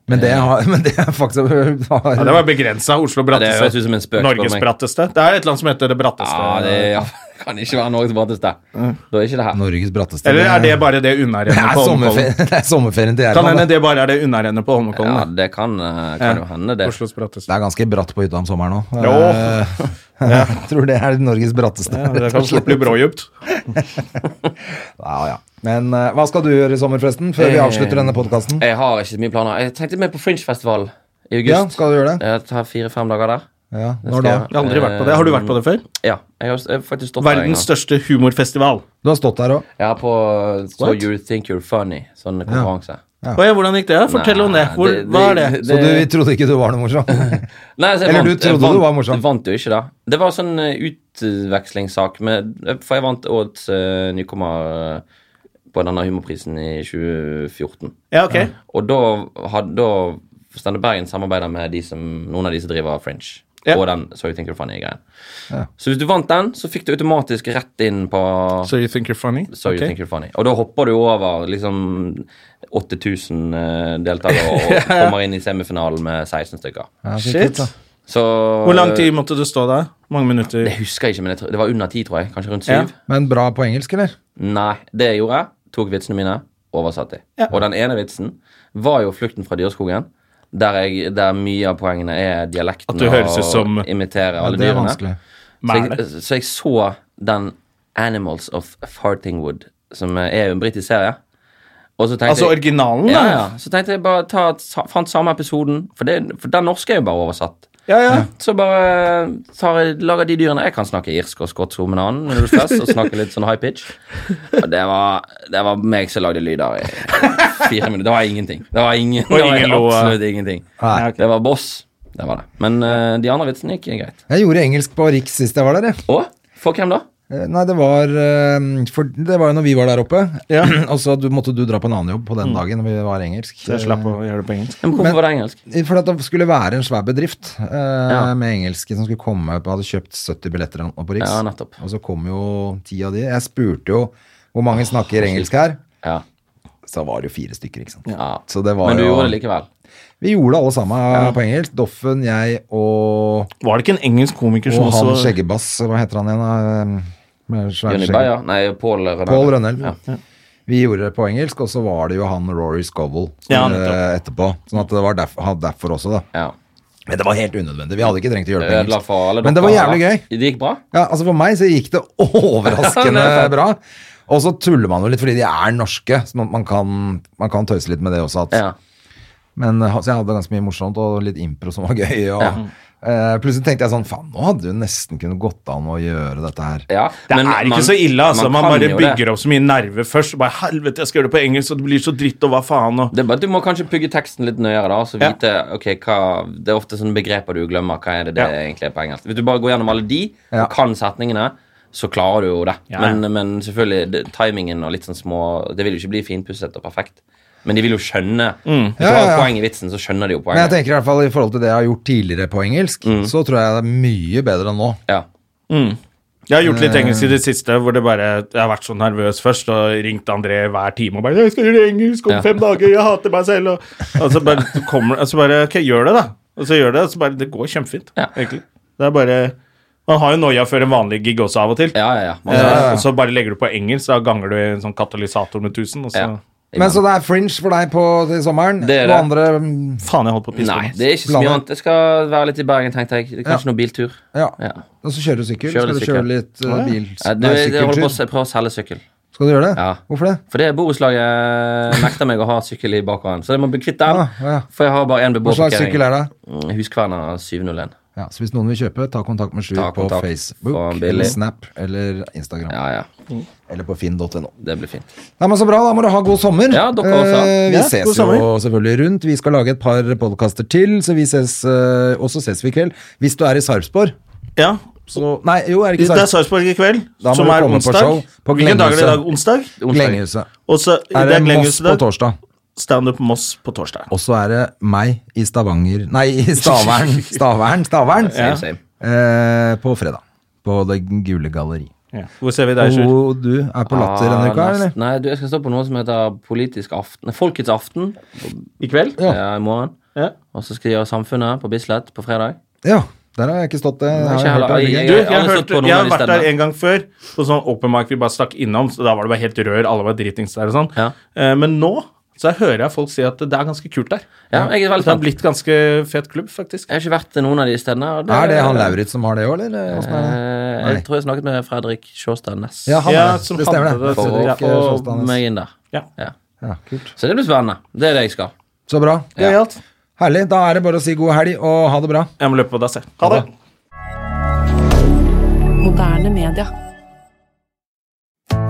A: Men det jeg har, men det jeg faktisk har
B: Ja, det var begrensa. Oslo
C: det
B: bratteste.
C: høres ut som en spøk for
B: Norges
C: meg.
B: bratteste. Det er et eller annet som heter Det bratteste.
C: Ja, det ja, det kan ikke være Norges bratteste. Da er ikke det her.
A: Mm. Norges bratteste
B: Eller er det bare det
A: det
B: unnarennet
A: er,
B: på
A: sommerferien,
B: Holmenkollen?
A: det er sommerferien til
B: Kan hende
A: Gjerman. da.
B: det bare er det unnarennet på Holmenkollen. da.
C: Ja, det kan, eh, kan jo hende, det.
B: Oslos bratteste.
A: Det er ganske bratt på hytta om sommeren òg.
B: Jo.
A: Jeg tror det er Norges bratteste.
B: Ja, det
A: rett
B: kan
A: og slett.
B: fort bli brådjupt.
A: Ja, ja. Men eh, hva skal du gjøre i sommer, forresten? Før vi
C: Eh,
A: avslutter denne podkasten.
C: Jeg har ikke så mye planer. Jeg tenkte mer på Fringe-festival i august.
A: Ja, skal du gjøre det?
C: Jeg tar fire-fem dager der.
A: Ja,
C: Det
A: når
C: skal
A: da?
C: jeg.
B: Jeg har aldri vært på det. Har du vært på det før?
C: Ja. Jeg har s- jeg har faktisk stått der en gang.
B: Verdens største humorfestival.
A: Du har stått der òg.
C: Jeg er på eh, So
B: What?
C: You Think You're Funny, sånn konkurranse.
A: Ja.
B: Åja, hvordan gikk det? Fortell om det. Hvor,
C: Nei,
B: hva er det?
A: Så du vi trodde ikke du var noe morsom?
C: Nei, altså, jeg
A: Eller du
C: vant- jeg
A: trodde du
C: vant,
A: var morsom.
C: Jeg vant jo ikke, da. Det var sånn eh, utvekslingssak med For jeg vant årets eh, nykommer eh, på denne humorprisen i 2014.
B: Ja, ok.
C: Og da hadde da Stende Bergen samarbeider med de som, noen av de som driver Fringe.
B: Ja.
C: Og den So You Think You're Funny-greien. Så hvis du vant den, så fikk du automatisk rett inn på
B: So you think you're funny?
C: So
B: Ok.
C: You Think You're Funny. Og da hopper du over liksom 8000 eh, deltakere og kommer inn i semifinalen med 16 stykker.
A: Ja, så kult,
B: Shit.
A: da.
C: Så
B: Hvor lang tid måtte du stå der? Mange minutter?
C: Jeg husker ikke, men jeg tror, det var under ti, tror jeg. Kanskje rundt
B: Ja.
C: syv.
A: Men bra på engelsk, eller?
C: Nei, det jeg gjorde, tok vitsene mine, oversatte de.
B: Ja.
C: Og den ene vitsen var jo 'Flukten fra dyreskogen', der, jeg, der mye av poengene er dialekten
B: At du høres ut som-
C: og imiterer
A: Ja,
C: alle
A: det er
C: dyrene.
A: vanskelig.
C: Så
B: Mæle.
C: jeg, så jeg så den 'Animals of Fartingwood', som er jo en britisk serie. Og så tenkte
B: Altså
C: jeg,
B: originalen,
C: ja,
B: da?
C: ja. Så tenkte jeg bare ta, sa- fant samme episoden, for, det, for den norske er jo bare oversatt.
B: Ja, ja.
C: Så bare tar jeg, lager de dyrene Jeg kan snakke irsk og skotsk om en annen når du er stress, og snakke litt sånn high pitch. Og det var, det var meg som lagde lyder i fire minutter. Det var ingenting. Det var, ingen, det var
B: ingen lo, eh.
C: absolutt ingenting.
A: Nei.
C: Det var boss. Det var det. Men eh, de andre vitsene gikk greit.
A: Jeg gjorde engelsk på Riks sist jeg var der, jeg.
C: Og for hvem da?
A: Eh, Nei, det var eh, For det var jo når vi var der oppe, og så du, måtte du dra på en annen jobb på den dagen vi var engelsk.
B: Så jeg slapp å gjøre Mm. det på engelsk.
C: Men hvorfor var det engelsk?
A: Eh, For at det skulle være en svær bedrift eh,
C: Ja.
A: med engelske som skulle komme på, Hadde kjøpt 70 billetter opp på Riks,
C: Ja, nettopp.
A: og så kom jo ti av de. Jeg spurte jo hvor mange snakker engelsk her.
C: Ja.
A: Så var det jo fire stykker, ikke sant.
C: ja.
A: Så det var
C: Men du
A: jo
C: gjorde det likevel.
A: Vi gjorde alle sammen eh, på engelsk. Doffen, jeg og
B: Var det ikke en engelsk komiker som
A: Og han
B: også
A: skjeggebass, hva heter han igjen? da? Eh, med svært
C: Johnny
A: skjegg.
C: Beyer? Nei, Paul Rønnell.
A: Paul Rønnell.
C: Ja.
A: Vi gjorde det på engelsk, og så var det jo han Rory Scovel
B: Ja,
A: eh,
B: nettopp.
A: etterpå. Sånn at det var derf han derfor også, da.
C: Ja.
A: Men det var helt unødvendig. Vi hadde ikke trengt å gjøre det på
C: Ødela
A: engelsk.
C: for alle
A: Men det var
C: dere,
A: jævlig
C: da.
A: gøy.
C: Det gikk bra?
A: Ja, altså For meg så gikk det
C: Ja,
A: overraskende
C: det er sant.
A: bra. Og så tuller man jo litt fordi de er norske, så man- man kan, man kan tøyse litt med det også. At,
C: Ja.
A: Men eh, så jeg hadde ganske mye morsomt og litt impro som var gøy. Og, eh, plutselig tenkte jeg sånn Faen, nå hadde det jo nesten kunnet gått an å gjøre dette her.
C: ja.
B: Det
C: men
B: er ikke
C: man-
B: så ille, altså. Man,
C: kan
B: bare
C: jo det.
B: bygger opp så mye nerve først. og Bare helvete, jeg skal gjøre det på engelsk, og det blir så dritt, og hva faen, og
C: Det er bare, at du må kanskje pugge teksten litt nøyere. da, så
B: Ja.
C: vite, ok, hva, Det er ofte sånne begreper du glemmer. Hva er det det
B: Ja.
C: egentlig er på engelsk? Hvis du bare går gjennom alle de,
A: Ja.
C: og kan setningene, så klarer du jo det.
B: Ja, ja.
C: Men, men selvfølgelig, det, timingen og litt sånn små Det vil jo ikke bli finpusset og perfekt. Men de vil jo skjønne. Hvis du
A: Mm. Ja, ja,
C: har
A: ja.
C: poeng i vitsen, så skjønner de jo
A: Men jeg
C: poenget.
A: tenker i hvert fall i forhold til det jeg har gjort tidligere på engelsk,
C: Mm.
A: så tror jeg det er mye bedre enn nå.
C: Ja.
B: Jeg har gjort litt engelsk i
C: Eh.
B: det siste, hvor det bare, jeg har vært så nervøs først, og ringt André hver time og bare 'Jeg skal gjøre engelsk om
C: Ja.
B: fem dager, jeg hater meg selv', og, og så bare så kommer og så bare 'Ok, gjør det, da'. Og så gjør det, og så bare Det går kjempefint,
C: Ja.
B: egentlig. Det er bare Man har jo noia før en vanlig gig også, av og til.
C: Ja, ja, ja. Man,
B: Eh, og så bare legger du på engelsk, da ganger du en sånn katalysator med 1000, og så
C: ja.
A: Men så det er fringe for deg på, til sommeren?
C: Det er
A: Og
C: det.
A: andre mm,
B: Faen, jeg holdt på å pisse på
C: Nei,
B: meg.
C: det er ikke så mye
A: Planer.
C: annet. Jeg skal være litt i Bergen, tenkte jeg. Det er Kanskje noe biltur.
A: ja.
C: Ja.
A: Og så kjører du sykkel?
C: Kjører
A: skal du
C: sykkel.
A: kjøre litt eh, bil?
C: Ja, du,
A: nei,
C: jeg holder på å
A: sykkeltur?
C: se- prøve å selge sykkel.
A: Skal du gjøre det?
C: Ja.
A: Hvorfor det?
C: For det borettslaget nekter meg å ha sykkel i bakgården, så jeg må bli kvitt den.
A: Ah, ja.
C: For jeg har bare én
A: Hva slags sykkel
C: beboerparkering.
A: er det?
C: Mm, Huskverna 701.
A: Ja, så hvis noen vil kjøpe, ta kontakt med Sjur
C: Ta
A: på
C: kontakt.
A: Facebook,
C: Få han billig.
A: eller Snap eller Instagram.
C: Ja, ja.
A: Eller på finn.no.
C: Det blir fint.
A: Nei, men Så bra, da må du ha god sommer.
C: Ja, dere også.
A: Eh, vi
B: Ja,
A: ses
B: god
A: jo
B: sommer.
A: selvfølgelig rundt. Vi skal lage et par podkaster til, så vi ses, eh, og så ses vi i kveld. Hvis du er i Sarpsborg,
B: Ja.
A: så Nei, jo, er det
B: Det
A: ikke
B: er
A: Sarpsborg?
B: Sarpsborg i kveld,
A: Da må
B: som
A: du
B: er
A: komme på
B: onsdag.
A: show på
B: Hvilken dag er det i
A: Glenghuset.
B: dag? Onsdag?
C: Onsdag.
A: Glengehuset.
B: Og så
A: Er det, Moss
B: Glenghuset
A: på
B: i dag.
A: torsdag?
B: Standup Moss på torsdag.
A: Og så er det meg i Stavanger Nei, i Stavern. Stavern, Stavern.
C: Same, same.
A: Eh, på fredag. På Det gule galleri.
B: Hvor ser vi deg, Sjur?
A: Og du er på Latter
C: Ah,
A: denne uka,
C: nest-
A: eller?
C: Nei, du, jeg skal stå på noe som heter Politisk aften. Nei, Folkets aften
B: I kveld?
C: ja. i morgen.
B: Ja.
C: Og så skal jeg gjøre Samfunnet på Bislett på fredag.
A: Ja. Der har jeg ikke stått. Det har
C: ikke
A: jeg hørt
C: heller.
A: er veldig gøy.
C: Jeg-
B: Du, jeg,
C: har aldri stått
B: hørte,
C: på noen
B: jeg har
C: av de
B: vært der
C: stedene.
B: en gang før, på sånn open mic vi bare stakk innom. Så da var det bare helt rør, alle var dritings der og sånn.
C: Ja.
B: Eh, men nå så hører jeg folk si at det er ganske kult der.
C: Ja, jeg er
B: det
C: veldig
B: har
C: spent.
B: blitt ganske fet klubb, faktisk.
C: Jeg har ikke vært til noen av de stedene. og
A: Er det han Lauritz som har det òg, eller? Åssen er det?
C: Eh,
A: Nei.
C: jeg tror jeg snakket med Fredrik Sjåstad Næss
A: Ja, han
B: Ja,
A: er det.
B: som
A: Det stemmer, det. eh,
B: hadde det.
C: for å
B: Fredrik
A: Fredrik
C: få
A: Sjåstad Næss.
C: meg inn der.
B: Ja.
C: Ja.
A: Ja, kult.
C: Så det blir spennende. Det er det jeg skal.
A: Så bra.
B: Gøyalt.
A: Herlig. Da er det bare å si god helg, og ha det bra.
B: Jeg må løpe på dass, jeg. Ha det.
D: Moderne media.